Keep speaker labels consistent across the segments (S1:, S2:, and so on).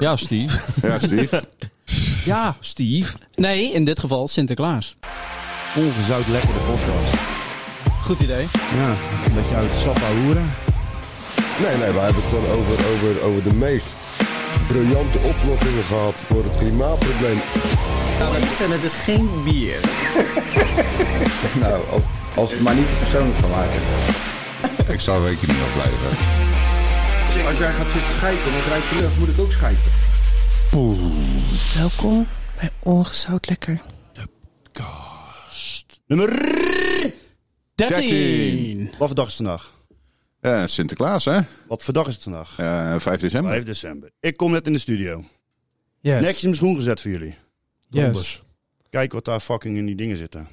S1: Ja, Steve.
S2: Ja, Steve.
S1: Ja, Steve. Nee, in dit geval Sinterklaas.
S3: Ongezout lekker de podcast.
S1: Goed idee.
S3: Ja, een beetje uit Sappa hoeren.
S4: Nee, nee, wij hebben het gewoon over, over, over de meest briljante oplossingen gehad voor het klimaatprobleem.
S5: En het is geen bier.
S6: Nou, als, als het maar niet te persoonlijk van maken.
S2: Ik zou weken niet afblijven.
S6: Als jij gaat zitten schijten, dan rijdt je lucht, moet ik ook schijten.
S5: Welkom bij Ongezout Lekker.
S3: Nummer...
S1: 13.
S3: Wat voor dag is het vandaag?
S2: Ja, Sinterklaas, hè?
S3: Wat voor dag is het vandaag?
S2: Eh 5 december.
S3: 5 december. Ik kom net in de studio.
S7: Yes.
S3: Netjes in mijn schoen gezet voor jullie.
S7: yes.
S3: Kijk wat daar fucking in die dingen zitten.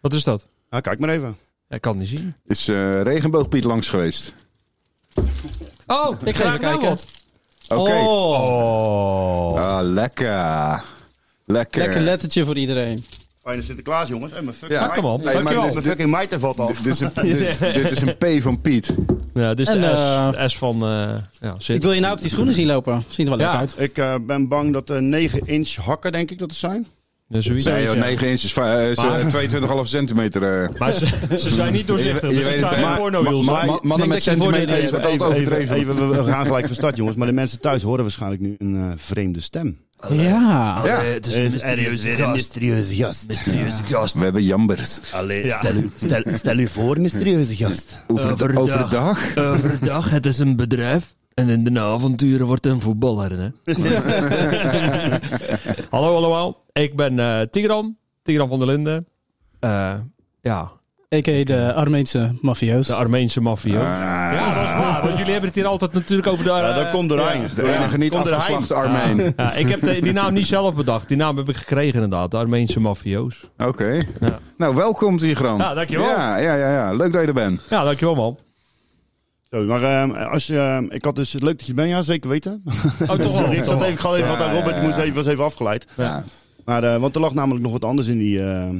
S7: Wat is dat?
S3: Nou, kijk maar even.
S7: Hij kan niet zien.
S2: Is eh, regenboogpiet langs geweest.
S1: Oh, ik ga even
S7: nou
S1: kijken.
S7: wat.
S2: Oké.
S7: Oh.
S2: Ah, lekker. Lekker.
S1: Lekker lettertje voor iedereen.
S3: Fijne Sinterklaas, jongens. En mijn fucking
S2: Ja,
S3: mei-
S2: kom op.
S3: Hey,
S2: Hey, maar
S3: fucking-
S2: dit-
S3: mijn fucking meid er valt af.
S2: Dit is, een, dit, dit is een P van Piet.
S7: Ja, dit is
S1: En,
S7: de S,
S1: eh,
S7: S van eh ja,
S1: Ik wil je nou op die schoenen zien lopen. Ziet er wel leuk
S7: Ja.
S1: uit.
S3: Ik eh, ben bang dat er 9 inch hakken, denk ik dat het zijn.
S7: Zoiets.
S2: Nee, joh, 9 inch is va- eh, is, eh,
S7: Maar-
S2: 22,5 centimeter. eh.
S7: Maar ze, ze zijn niet doorzichtig. dus het zijn
S2: hè?
S7: porno
S2: Ma- ma- mannen
S1: Ik denk dat
S2: met
S1: je voordeel
S2: centimeter
S1: hebt.
S2: is wat altijd overdreven.
S3: even, we- we gaan gelijk van start, jongens. Maar de mensen thuis horen waarschijnlijk nu een eh, vreemde stem.
S1: Ja.
S2: Ja.
S8: Ah, het is een mysterieuze gast.
S3: mysterieuze gast.
S8: Mysterieuze gast.
S2: We hebben jambers.
S3: Allee,
S8: Ja.
S3: stel, u- stel, stel u voor, mysterieuze gast.
S2: Over,
S8: Overdag.
S2: overdag?
S8: Overdag, het is een bedrijf. En in de avonturen wordt een voetballer. Hè?
S7: Hallo allemaal, ik ben eh Tigran. Tigran van der Linden. Eh, ja,
S1: A.k.a. de Armeense mafioos.
S7: de Armeense maffia.
S2: Ah.
S7: ja, dat is waar. Want jullie hebben het hier altijd natuurlijk over de...
S3: Ja,
S7: eh,
S3: dat komt doorheen.
S2: De enige niet
S3: Komt erheen.
S2: afgeslachte Armeen.
S7: Ja, ik heb de- die naam niet zelf bedacht. Die naam heb ik gekregen inderdaad. De Armeense maffio's.
S2: Oké.
S7: Ja.
S2: Nou, welkom Tigran.
S7: Ja, dankjewel.
S2: Ja, ja, ja, ja. Leuk dat je er bent.
S7: Ja, dankjewel man.
S3: Zo, maar ehm, als je, ehm, ik had dus het leuk dat je bent, ja, zeker weten.
S7: Oh, toch wel.
S3: ik zat even, ik had even
S2: Ja,
S3: wat aan
S2: ja,
S3: Robert, ik
S2: ja.
S3: moest even, was even afgeleid.
S2: Ja.
S3: Maar, eh, want er lag namelijk nog wat anders in die ehm,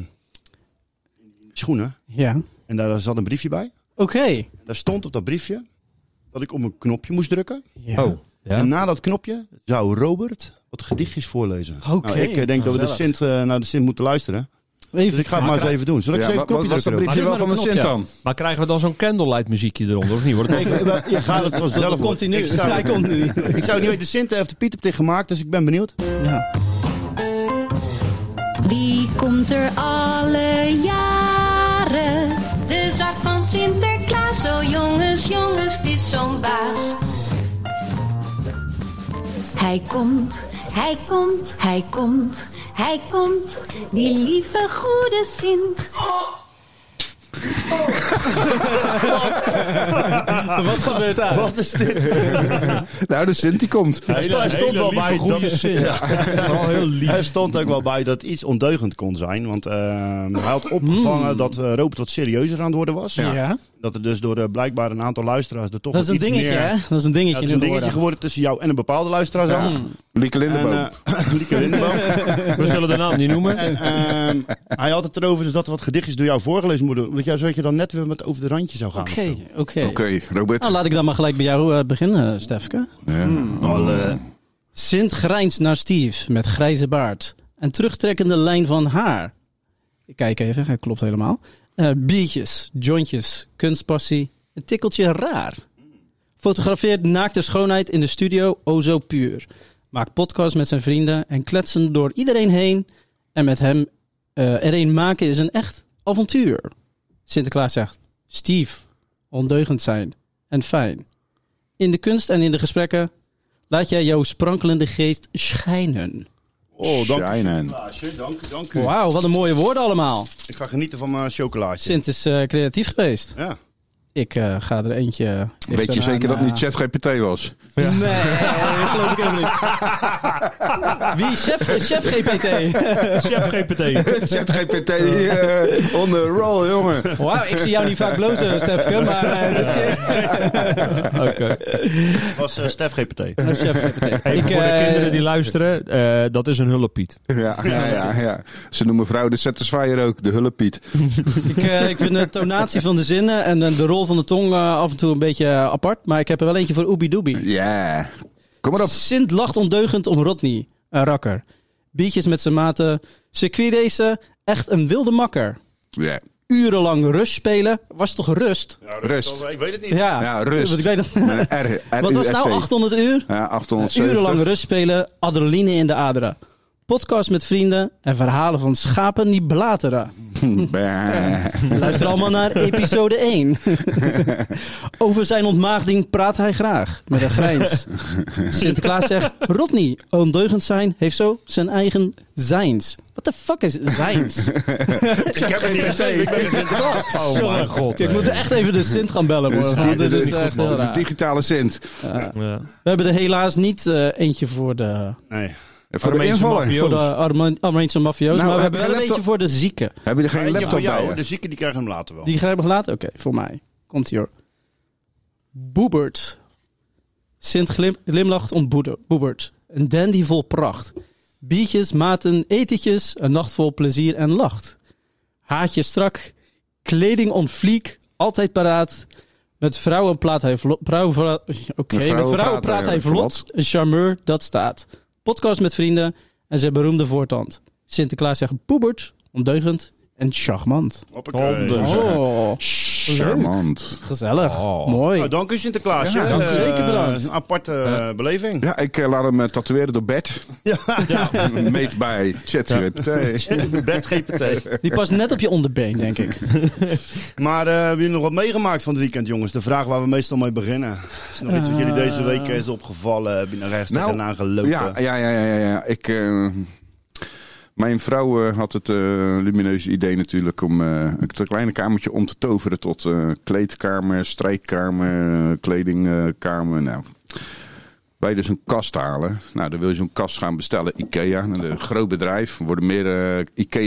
S3: schoenen.
S1: Ja.
S3: En daar zat een briefje bij.
S1: Oké.
S3: En daar stond op dat briefje dat ik op een knopje moest drukken.
S1: Ja.
S7: Oh, ja.
S3: En na dat knopje zou Robert wat gedichtjes voorlezen.
S1: Oké.
S3: Nou, ik eh, denk dat we de
S1: Gezellig.
S3: Sint, eh, naar de Sint moeten luisteren.
S1: Even
S3: Dus ik ga het maar eens even doen. Zal ik
S2: Ja,
S3: eens even
S2: wat-
S3: een knopje
S2: wat was dat
S3: drukken?
S2: briefje wel
S7: Maar doe
S2: van
S7: maar
S2: de
S7: een
S2: Sint
S7: knopje.
S2: dan?
S7: Maar krijgen we dan zo'n candlelight muziekje eronder, of niet? Wordt het ook-
S3: Robert? Je gaat het vanzelf
S1: Dat
S3: worden.
S1: komt hij nu.
S3: Ik zou-
S1: Hij komt nu.
S3: Ik zou niet weten, de Sint heeft de Piet op tegen gemaakt, dus ik ben benieuwd.
S1: Ja.
S9: Die komt er alle jaren. De zak van Sinterklaas. Oh jongens, jongens, dit is zo'n baas. Hij komt, hij komt, hij komt, hij komt. Die lieve goede Sint.
S1: Wat gebeurt daar?
S3: Wat is dit?
S2: Nou, de Sint die komt.
S3: Hij stond, hij stond wel bij dat,
S7: Wel Oh, heel lief.
S3: hij stond ook wel bij dat iets ondeugend kon zijn. Want ehm, hij had opgevangen dat eh, Robert wat serieuzer aan het worden was.
S1: Hmm. Ja.
S3: Dat er dus door eh, blijkbaar een aantal luisteraars er toch
S1: Dat is een
S3: wat iets
S1: dingetje,
S3: meer...
S1: hè? Dat is een dingetje
S3: Ja, het is een
S1: nu
S3: dingetje
S1: geworden.
S3: geworden tussen jou en een bepaalde luisteraar zelfs.
S2: Lieke
S3: En,
S2: Lindenboom.
S3: eh, Lieke Lindeboom.
S7: We zullen de naam niet noemen.
S3: en ehm, hij had het erover dus dat er wat gedichtjes door jou voorgelezen moeten worden. Omdat jij, zodat je dan net weer met over de randje zou gaan. of zo.
S1: Oké, oké.
S2: Oké, Robert.
S1: Nou, laat ik dan maar gelijk bij jou eh, beginnen, Stefke.
S2: Ja.
S1: Sint grijnst naar Steve met grijze baard en terugtrekkende lijn van haar. Ik kijk even, hij klopt helemaal. Eh, biertjes, jointjes, kunstpassie, een tikkeltje raar. Fotografeert naakte schoonheid in de studio, o zo puur. Maakt podcasts met zijn vrienden en kletsen door iedereen heen. En met hem eh er een maken is een echt avontuur. Sinterklaas zegt, Steve, ondeugend zijn en fijn. In de kunst en in de gesprekken Laat jij jouw sprankelende geest schijnen.
S3: Oh, dank u.
S2: Shinen.
S3: Klaasje, Dank, dank u.
S1: Wauw, wat een mooie woorden allemaal.
S3: Ik ga genieten van mijn chocolaatje.
S1: Sint is eh, creatief geweest.
S3: Ja.
S1: Ik eh, ga er eentje...
S2: Weet je zeker dat het niet
S1: niet?
S2: ChatGPT was?
S1: Nee, dat geloof ik even niet. Wie? Chef, chef GPT.
S7: Chef GPT.
S2: ChatGPT eh, on the roll, jongen.
S1: Wauw, ik zie jou niet vaak blozen, Stefke, maar... eh, dit
S7: Oké.
S3: was eh, Stef GPT.
S1: Oh, chef GPT.
S7: Even
S1: Ik,
S7: voor de
S1: eh,
S7: kinderen die luisteren, eh, dat is een hulppiet.
S2: Ja, ja, ja, ja. Ze noemen vrouw de Satisfier ook, de hulppiet.
S1: Ik, eh, ik vind de tonatie van de zinnen en eh, de rol van de tong eh, af en toe een beetje eh, apart. Maar ik heb er wel eentje voor Oebi Doobie.
S2: Ja. Kom maar op.
S1: Sint lacht ondeugend om Rodney, een rakker. Biertjes met zijn maten. Circuitracen, echt een wilde makker.
S2: Ja,
S1: Urenlang rust spelen, was toch rust?
S3: Nou,
S2: rust.
S3: Ik weet het niet.
S1: Ja,
S2: Ja, rust.
S1: Want ik weet dat-
S2: Met een R, R
S1: Wat was nou 800 uur?
S2: Ja, 870.
S1: Urenlang rust spelen, adrenaline in de aderen. Podcast met vrienden en verhalen van schapen die blateren.
S2: Bah.
S1: Luister allemaal naar episode 1. Over zijn ontmaagding praat hij graag, met een grijns. Sinterklaas zegt, Rodney, ondeugend zijn heeft zo zijn eigen zijns. What the fuck is zijns?
S3: Ik heb het niet gezien. Ik ben in Sinterklaas.
S7: Oh mijn god.
S1: Ik moet echt even de Sint gaan bellen,
S2: Dus
S1: hoor.
S2: die-
S1: want dit
S2: dus
S1: is
S2: die-
S1: echt heel
S2: de
S1: raar.
S2: digitale Sint.
S7: Ja.
S1: We hebben er helaas niet eh, eentje voor de,
S3: Nee.
S2: Voor de invaller.
S1: voor de Arme- Armeense mafio's,
S2: Nou,
S1: maar we
S2: heb
S1: hebben
S2: je
S1: wel een
S2: laptop?
S1: eentje voor de zieken.
S2: Heb je er geen
S3: Eentje
S2: laptop
S3: voor
S2: bij?
S3: jou. dus
S2: hè?
S3: De zieken die krijgen hem later wel.
S1: Die grijp ik later? Oké, voor mij. Komt hier. Boebert. Sint glim, glimlacht om Boede- Boebert. Een dandy vol pracht. Biertjes, maten, etentjes. Een nacht vol plezier en lacht. Haartje strak. Kleding on fleek. Altijd paraat. Met vrouwen praat hij vlot. Vrouwen, vra- Oké,
S2: Met
S1: met
S2: vrouwen
S1: vrouwen
S2: praat
S1: praat,
S2: hij
S1: hij vlot. Een charmeur, dat staat. Podcast met vrienden en zijn beroemde voortand. Sinterklaas zegt Boebert, ondeugend en charmant.
S3: Hoppakee.
S7: Honden.
S1: Oh.
S2: Charmant.
S1: Gezellig. Mooi.
S2: Oh,
S3: Nou, dank u Sinterklaas.
S2: Ja,
S3: hè.
S1: dank u.
S3: Eh,
S1: Zeker bedankt.
S3: het is Een aparte eh, beleving.
S2: Ja, ik eh, laat hem eh, tatoeëren door Bert.
S3: Ja.
S2: Meet bij ChatGPT.
S3: Bed GPT.
S1: Die past net op je onderbeen, denk ik.
S3: Maar eh hebben jullie nog wat meegemaakt van het weekend, jongens? De vraag waar we meestal mee beginnen. Is er nog iets wat jullie deze week is opgevallen? Heb je nog ergens
S2: Eh. Nou,
S3: tegenaan gelopen?
S2: Ja, ja, ja, ja, ja, ja. Ik, eh, mijn vrouw eh, had het eh, lumineuze idee natuurlijk om eh, een kleine kamertje om te toveren tot eh, kleedkamer, strijkkamer, eh, kledingkamer. Nou, bij dus een kast halen. Nou, dan wil je zo'n kast gaan bestellen, IKEA. Nou, Een groot bedrijf. Er worden meer eh,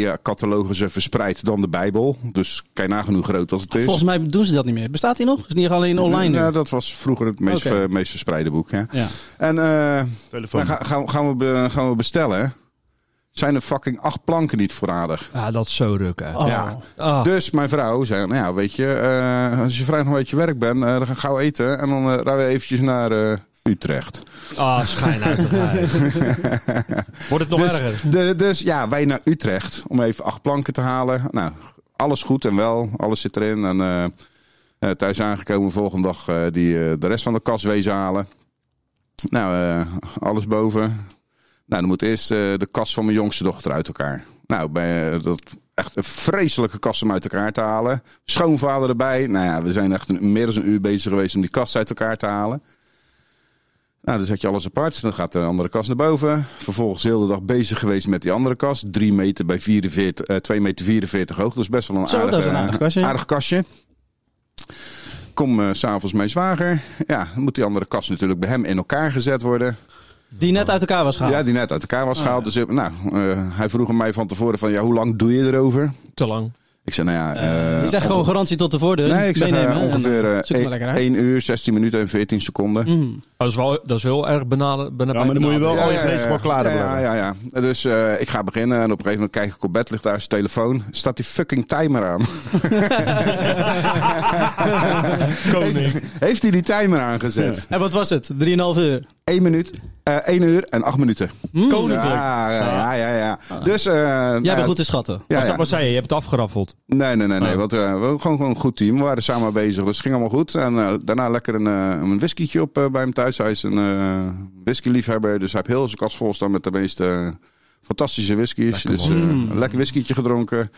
S2: IKEA-catalogussen verspreid dan de Bijbel. Dus kijk nagenoeg groot als het is.
S1: Volgens mij doen ze dat niet meer. Bestaat die nog? Is die alleen online nu?
S2: Ja, dat was vroeger het meest,
S1: Oké.
S2: eh, meest verspreide boek. Ja.
S1: Ja.
S2: En eh,
S3: Telefoon.
S2: dan ga- gaan, gaan, we be- gaan we bestellen. Zijn er fucking acht planken niet voorradig?
S8: Ah, dat is zo rukken.
S1: Oh.
S2: Ja.
S8: Ah.
S2: Dus mijn vrouw zei, nou ja, weet je, eh, als je vrijdag nog uit je werk bent, eh, dan ga ik gauw eten. En dan eh, rijden we eventjes naar eh, Utrecht.
S7: Ah, schijn uit de Wordt het nog
S2: dus,
S7: erger?
S2: de- dus ja, wij naar Utrecht om even acht planken te halen. Nou, alles goed en wel, alles zit erin. En eh, eh, thuis aangekomen, volgende dag eh, die, eh, de rest van de kas wezen halen. Nou, eh, alles boven. Nou, dan moet eerst eh, de kast van mijn jongste dochter uit elkaar. Nou, bij, eh, dat echt een vreselijke kast om uit elkaar te halen. Schoonvader erbij. Nou ja, we zijn echt een, meer dan een uur bezig geweest om die kast uit elkaar te halen. Nou, dan zet je alles apart. Dan gaat de andere kast naar boven. Vervolgens heel de dag bezig geweest met die andere kast. 3 meter bij 44, eh 2 meter 44 hoog. Dat is best wel een,
S1: Zo, dat
S2: aardige,
S1: is een aardig kastje.
S2: aardig kastje. Kom eh, s s'avonds mijn zwager. Ja, dan moet die andere kast natuurlijk bij hem in elkaar gezet worden.
S1: Die net uit elkaar was gehaald. Ah,
S2: Ja, die net uit elkaar was gehaald. Dus ik- nou, eh, hij vroeg aan mij van tevoren van, ja, hoe lang doe je erover?
S7: Te lang.
S2: Ik zei, nou ja... eh,
S1: je zegt gewoon garantie tot de voordeur.
S2: Nee, ik zeg eh,
S1: meenemen en, eh,
S2: ongeveer eh,
S1: zoek het maar lekker uit.
S2: 1 uur, 16 minuten en 14 seconden.
S1: Mm.
S7: Oh, Dat is, wel, dat is heel erg benaderd.
S3: Ja, maar dan moet je wel al je
S2: ja, ja.
S3: gereedschap klaar hebben.
S2: ja, ja, ja. Dus eh, ik ga beginnen en op een gegeven moment kijk ik op bed, ligt daar zijn telefoon. Staat die fucking timer aan.
S7: Koning.
S2: Heeft hij die timer aangezet?
S1: En wat was het? 3,5 uur. Mm.
S2: 1 minuut, eh 1 uur en 8 minuten.
S7: Koninklijk.
S2: Ja, ja, ja. ja, ja. Dus... eh, nou
S1: Ah. Jij
S2: ja,
S1: bent goed te schatten.
S2: ja,
S7: Wat
S2: ja.
S7: zou- Wat zei je? Je hebt het afgeraffeld.
S2: Nee, nee, nee. nee.
S7: Oh.
S2: Want, eh, we waren gewoon, gewoon een goed team. We waren samen bezig. Dus het ging allemaal goed. En eh, daarna lekker een, eh een whiskytje op eh, bij hem thuis. Hij is een eh whiskyliefhebber. Dus hij heeft heel zijn kast vol staan met de meest eh, fantastische whiskies. dus eh, een lekker whiskytje gedronken.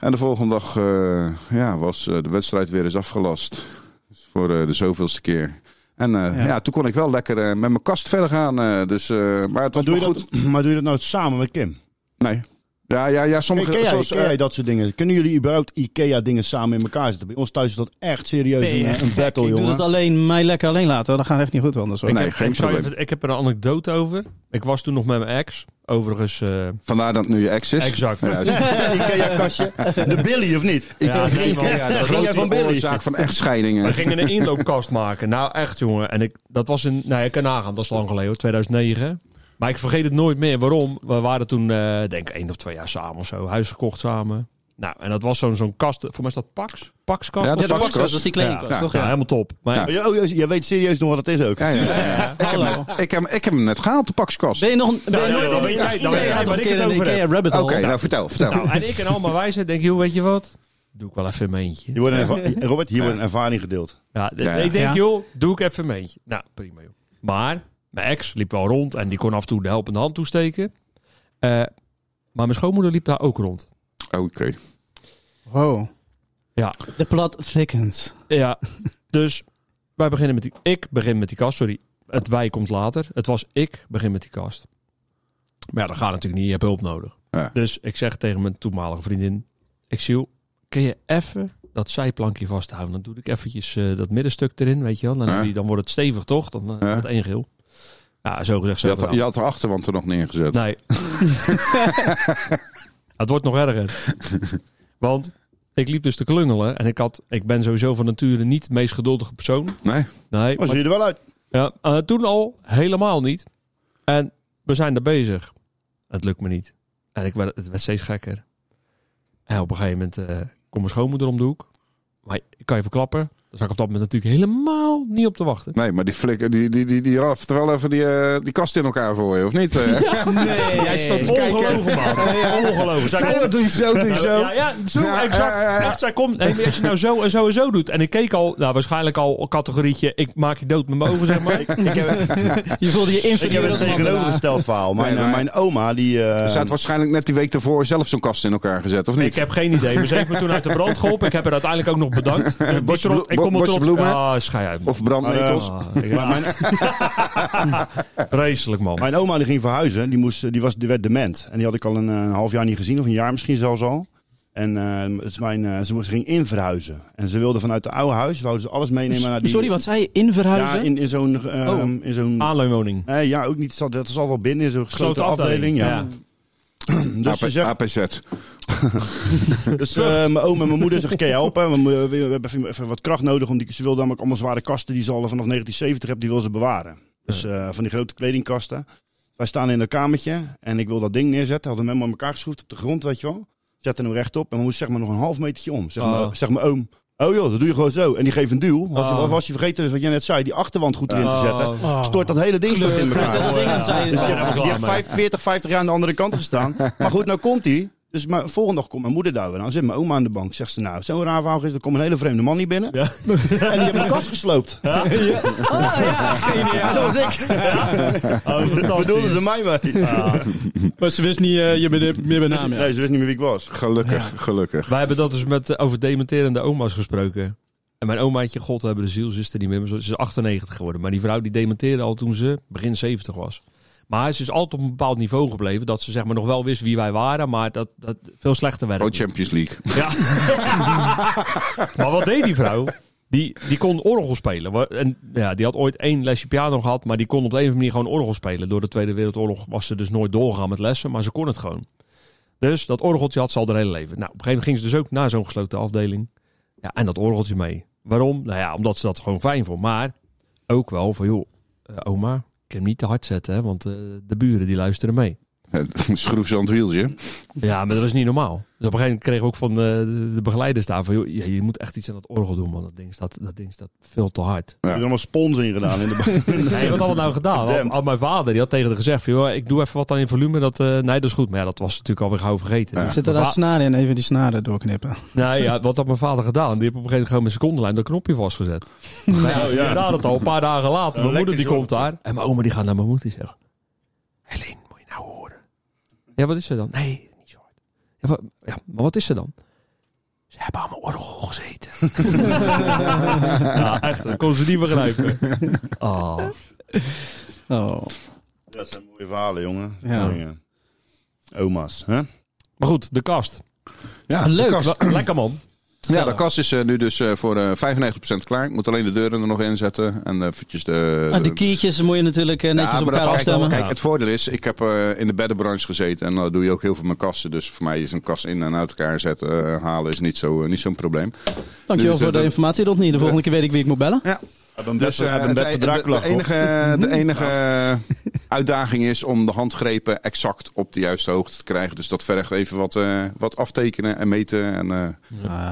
S2: En de volgende dag eh, ja, was eh, de wedstrijd weer eens afgelast. Dus voor eh, de zoveelste keer. En eh, ja. toen kon ik wel lekker eh, met mijn kast verder gaan. eh, dus, eh, maar het was
S3: Maar doe, je
S2: maar goed.
S3: dat, maar doe je dat nou samen met Kim?
S2: Nee. Ja, ja, ja.
S3: Ken,
S2: Sommige,
S3: ken jij,
S2: zoals,
S3: ken
S2: eh,
S3: jij dat soort dingen? Kunnen jullie überhaupt IKEA-dingen samen in elkaar zetten? Bij ons thuis is dat echt serieus
S1: Ben je
S3: een, een
S1: gek?
S3: battle,
S1: ik doe
S3: jongen.
S1: dat alleen, mij lekker alleen laten. hoor. Dan gaat het echt niet goed hoor, anders. hoor.
S2: Nee,
S7: ik, heb,
S2: geen
S7: ik, zou
S2: probleem.
S7: even- ik heb er een anekdote over. Ik was toen nog met mijn ex. Overigens, eh,
S2: Vandaar dat het nu je ex is.
S7: exact.
S2: Ja, dus-
S3: IKEA-kastje. De Billy, of niet?
S7: Ja, nee, man.
S2: Ja, de
S3: Ging jij van Billy?
S2: oorzaak van echtscheidingen.
S7: We gingen een inloopkast maken. Nou, echt jongen. En ik, dat was in. Nou, ik kan nagaan, dat is lang geleden hoor, 2009. Maar ik vergeet het nooit meer. Waarom? We waren toen, eh, denk ik, één of twee jaar samen of zo. Huis gekocht samen. Nou, en dat was zo'n zo'n kast. Voor mij is dat Pax. Paxkast.
S2: Ja, dat
S7: of
S1: Ja, dat was,
S7: zo?
S2: pakkast.
S1: dat was die kledingkast,
S7: Ja,
S1: toch?
S7: ja,
S1: Ja.
S7: helemaal top. Maar ja,
S2: Ja.
S3: Oh, oh, jij weet serieus nog wat het is ook.
S2: Ja, ja, ja. Ik, heb,
S1: Hallo.
S2: hem- ik, heb, hem- ik heb hem net gehaald, de pakskast.
S1: Ben je nog... Ben je
S7: ja,
S1: nooit
S7: dan
S1: in
S7: weet jij- dan
S1: Iedereen
S7: weet jij
S1: gaat
S7: waar
S1: een
S7: ik
S1: keer
S7: het
S1: in een
S7: over heb.
S1: Ikea rabbit
S2: Oké,
S1: hole.
S2: nou vertel, vertel.
S7: Nou, en ik en allemaal wijsheid denk, joh, weet je wat? Doe ik wel even in mijn eentje.
S3: Hier wordt een erva- Robert, hier wordt een ervaring gedeeld.
S7: Ja, d-
S2: Ja, ja.
S7: Ik denk,
S1: Ja.
S7: joh, doe ik even een eentje. Nou, prima, joh. Maar mijn ex liep wel rond en die kon af en toe de helpende hand toesteken. Eh, maar mijn schoonmoeder liep daar ook rond.
S2: Oké.
S1: Wow.
S7: Ja.
S1: De plot thickens.
S7: Ja, dus wij beginnen met die... Ik begin met die kast, sorry. Het wij komt later. Het was ik begin met die kast. Maar ja, dat gaat natuurlijk niet. Je hebt hulp nodig.
S2: Ja.
S7: Dus ik zeg tegen mijn toenmalige vriendin... Ik zie, kun je even dat zijplankje vasthouden? Dan doe ik eventjes eh, dat middenstuk erin, weet je wel. Dan, heb
S2: Ja.
S7: je- dan wordt het stevig, toch? Dan eh,
S2: Ja.
S7: wordt het één geel. Ja, zo gezegd, zo
S2: Je had,
S7: gedaan.
S2: je had de achterwand er nog neergezet.
S7: Nee. het wordt nog erger. Want ik liep dus te klungelen en ik, had, ik ben sowieso van nature niet de meest geduldige persoon.
S2: Nee?
S3: Maar
S7: Nee, maar-
S3: zie je er wel uit.
S7: ja, eh, toen al helemaal niet. En we zijn er bezig. Het lukt me niet. En ik werd, het werd steeds gekker. En op een gegeven moment eh komt mijn schoonmoeder om de hoek. Maar ik kan je verklappen, daar zat ik op dat moment natuurlijk helemaal niet op te wachten.
S2: Nee, maar die flikker, die, die, die, die raft wel even die, eh, die kast in elkaar voor je, of niet? Eh,
S1: Nee.
S2: Jij stond te kijken.
S7: Ongelogen, man. Ongelogen. Zij
S2: Nee,
S7: komt-
S2: dat doe je zo, doe je zo.
S7: Nou, Ja, ja, zo,
S2: Ja,
S7: exact.
S2: ja, ja, ja.
S7: Echt, zij komt. Nee, maar als je nou zo en zo en zo doet. En ik keek al, nou, waarschijnlijk al een categorietje. Ik maak je dood met mijn ogen, zeg maar.
S3: Ik heb,
S1: Je voelde je
S3: ik heb
S1: inferieur
S3: een
S1: als man daarna.
S3: tegenovergesteld verhaal. Mijn,
S2: Nee, maar-
S3: mijn oma, die... eh,
S2: Ze had waarschijnlijk net die week daarvoor zelf zo'n kast in elkaar gezet, of niet?
S7: Ik heb geen idee. Maar ze heeft me toen uit de brand geholpen. Ik heb haar uiteindelijk ook nog bedankt. Eh, die
S2: Bosje
S7: tro-
S2: blo-
S7: ik kom
S2: bo-
S7: er
S2: bosje
S7: trots-
S2: bloemen?
S7: Ah, schei uit. man.
S2: Of brandnetels.
S7: Ah, ik- Vreselijk, man.
S3: Mijn oma die ging verhuizen, die, moest, die, was, die werd dement. En die had ik al een, eh, een half jaar niet gezien, of een jaar misschien zelfs al. En eh, het is mijn, eh, ze moest- ging inverhuizen. En ze wilde vanuit het oude huis, wouden ze alles meenemen naar die...
S1: Sorry, wat zei je? In verhuizen?
S3: Ja, in, in zo'n... eh,
S7: Oh.
S3: in zo'n
S7: Aanleunwoning.
S3: nee, ja, ook niet, dat is al wel binnen, in zo'n gesloten afdeling. ja. Dus
S2: AP
S3: ze zegt,
S2: APZ.
S3: Dus eh, mijn oom en mijn moeder zeggen, kan je helpen? eh, We, mo- we hebben even- even wat kracht nodig. Om die, ze wil namelijk allemaal zware kasten die ze al vanaf 1970 hebben, die wil ze bewaren. Dus eh, van die grote kledingkasten. Wij staan in een kamertje en ik wil dat ding neerzetten. Hadden hem helemaal aan elkaar geschroefd op de grond, weet je wel. Zetten hem rechtop en we moesten zeg maar nog een half metertje om. Zeg maar,
S7: Oh.
S3: zeg maar oom, oh joh, dat doe je gewoon zo. En die geeft een duw. Of
S7: Oh.
S3: of was je vergeten, dus wat jij net zei, die achterwand goed erin te zetten.
S1: Oh.
S3: Stort dat hele ding stort in
S1: Met
S3: elkaar.
S1: dat ding aan zijn-
S3: Dus die
S7: Ah. Ja,
S3: heeft, die
S7: klaar
S3: heeft
S7: mee.
S3: vijf- 40, 50 jaar aan de andere kant gestaan. Maar goed, nou komt hij. Dus maar volgende dag komt mijn moeder daar weer aan. Zit mijn oma aan de bank. Zegt ze nou, zo'n raar verhaal is. Er komt een hele vreemde man hier binnen.
S7: Ja.
S3: En die heeft mijn kast gesloopt. Ja. Dat was ik. Bedoelden ze mij mee.
S1: Maar ze wist niet eh, je bent meer bij naam. ja.
S3: Nee, ze wist niet meer wie ik was.
S2: Gelukkig, gelukkig.
S7: Wij hebben dat dus met, eh, over dementerende oma's gesproken. En mijn omaatje, god hebben de ziel, ze is er niet meer. maar Ze is 98 geworden. Maar die vrouw die dementeerde al toen ze begin 70 was. Maar ze is altijd op een bepaald niveau gebleven. Dat ze zeg maar nog wel wist wie wij waren. Maar dat, dat veel slechter werd.
S2: Oh,
S7: het niet.
S2: Champions League.
S7: Ja. maar wat deed die vrouw? Die, die kon orgel spelen. Wa- En, ja, die had ooit één lesje piano gehad, maar die kon op de een of andere manier gewoon orgel spelen. Door de Tweede Wereldoorlog was ze dus nooit doorgegaan met lessen, maar ze kon het gewoon. Dus dat orgeltje had ze al haar hele leven. Nou, op een gegeven moment ging ze dus ook naar zo'n gesloten afdeling. Ja, en dat orgeltje mee. Waarom? Nou ja, omdat ze dat gewoon fijn vond. Maar ook wel van, joh, eh, oma, ik kan hem niet te hard zetten, hè, want eh, de buren die luisteren mee.
S2: Schroef ze aan het wieltje.
S7: Ja, maar dat is niet normaal. Dus op een gegeven moment kregen we ook van eh, de, de begeleiders daar van... Joh, ja, je moet echt iets aan dat orgel doen, man. Dat ding staat, dat ding staat veel te hard.
S3: Ik heb er allemaal spons in gedaan. In de
S7: Nee, wat had het nou gedaan? Had,
S3: Damn.
S7: had mijn vader, die had tegen haar gezegd van... Joh, ik doe even wat aan je volume. Dat, eh, nee, dat is goed. Maar ja, dat was natuurlijk alweer gauw vergeten. Dus
S1: Zit er
S7: mijn
S1: daar
S7: va-
S1: snaren in? Even die snaren doorknippen.
S7: Nee, ja, wat had mijn vader gedaan? Die heeft op een gegeven moment gewoon met secondenlijn dat knopje vastgezet. Nou, ja, Daar het al, een paar dagen later. Mijn
S3: lekker,
S7: moeder die
S3: joh.
S7: komt daar. En mijn oma die gaat naar mijn moeder die zegt... Helene, moet je nou horen? Ja, wat is er dan? Nee, niet zo hard. Ja, wa- ja, maar wat is er dan? Ze hebben aan mijn orgel gezeten. ja, echt. Dat kon ze niet begrijpen. Oh.
S1: Oh.
S3: Dat zijn mooie verhalen, jongen.
S1: Ja.
S3: Dingen. Oma's, hè?
S7: Maar goed, de kast.
S2: Ja,
S7: Leuk.
S2: De kast,
S7: Wel- Lekker man.
S2: ja,
S1: Ah,
S2: de kast is eh, nu dus eh, voor eh 95% klaar. Ik moet alleen de deuren er nog in zetten. En eh, eventjes de...
S1: Ah, die
S2: de-
S1: kiertjes moet je natuurlijk eh, netjes
S2: Ja,
S1: op
S2: maar dat-
S1: elkaar
S2: kijk,
S1: afstemmen.
S2: kijk, het voordeel is, ik heb eh, in de beddenbranche gezeten en dan doe je ook heel veel met kasten. Dus voor mij is een kast in en uit elkaar zetten, eh, halen is niet zo'n niet zo'n probleem.
S1: Dankjewel
S2: Dus, eh,
S1: voor de
S2: dat-
S1: informatie, Rodney. De volgende keer weet ik wie ik moet bellen.
S3: hebben een bed,
S2: eh,
S3: hebben een bed
S2: het-
S3: voor
S2: de-
S3: Dracula
S2: de, enige, de enige uitdaging is om de handgrepen exact op de juiste hoogte te krijgen. Dus dat vergt even wat, eh, wat aftekenen en meten. En, eh,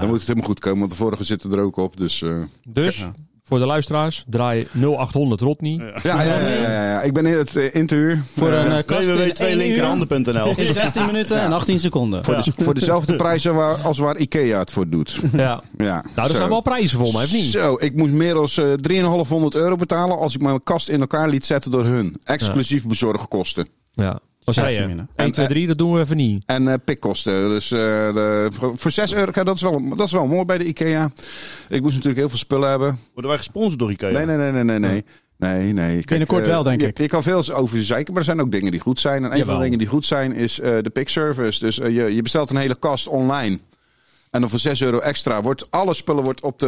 S2: Dan moet het helemaal goed komen, want de vorige zitten er ook op. Dus, eh,
S7: Dus, voor de luisteraars, draai 0800 Rodney.
S2: ja, ja, ja, ja, ja. ik ben in het eh, interview.
S1: Voor een eh, kast in één uur,
S3: www.tweelinkerhanden.nl
S1: in 16 minuten en 18 seconden.
S2: Voor, de- voor dezelfde prijzen waar, als waar Ikea het voor doet.
S7: Ja.
S2: Ja,
S7: Nou,
S2: zo.
S7: er zijn wel prijzen voor mij, of niet?
S2: Zo, ik moest meer dan eh, 3,500 euro betalen als ik mijn kast in elkaar liet zetten door hun. Exclusief bezorgkosten.
S7: Ja. Wat zei
S1: Ja,
S7: je?
S1: Jimena.
S7: 1, 2, 3, dat doen we even niet.
S2: En eh, pikkosten. Dus eh, de- voor 6 euro, kijk, dat is, wel, dat is wel mooi bij de Ikea. Ik moest natuurlijk heel veel spullen hebben.
S3: Worden wij gesponsord door Ikea?
S2: Nee, nee, nee, nee, nee. nee. Nee, nee. Kijk,
S1: Binnenkort
S2: eh,
S1: wel, denk
S2: je,
S1: ik.
S2: Je kan veel over zeiken, maar er zijn ook dingen die goed zijn. En een van
S7: Jawel.
S2: de dingen die goed zijn is eh, de pickservice. Dus eh, je, je bestelt een hele kast online. En dan voor 6 euro extra wordt alle spullen wordt op, de,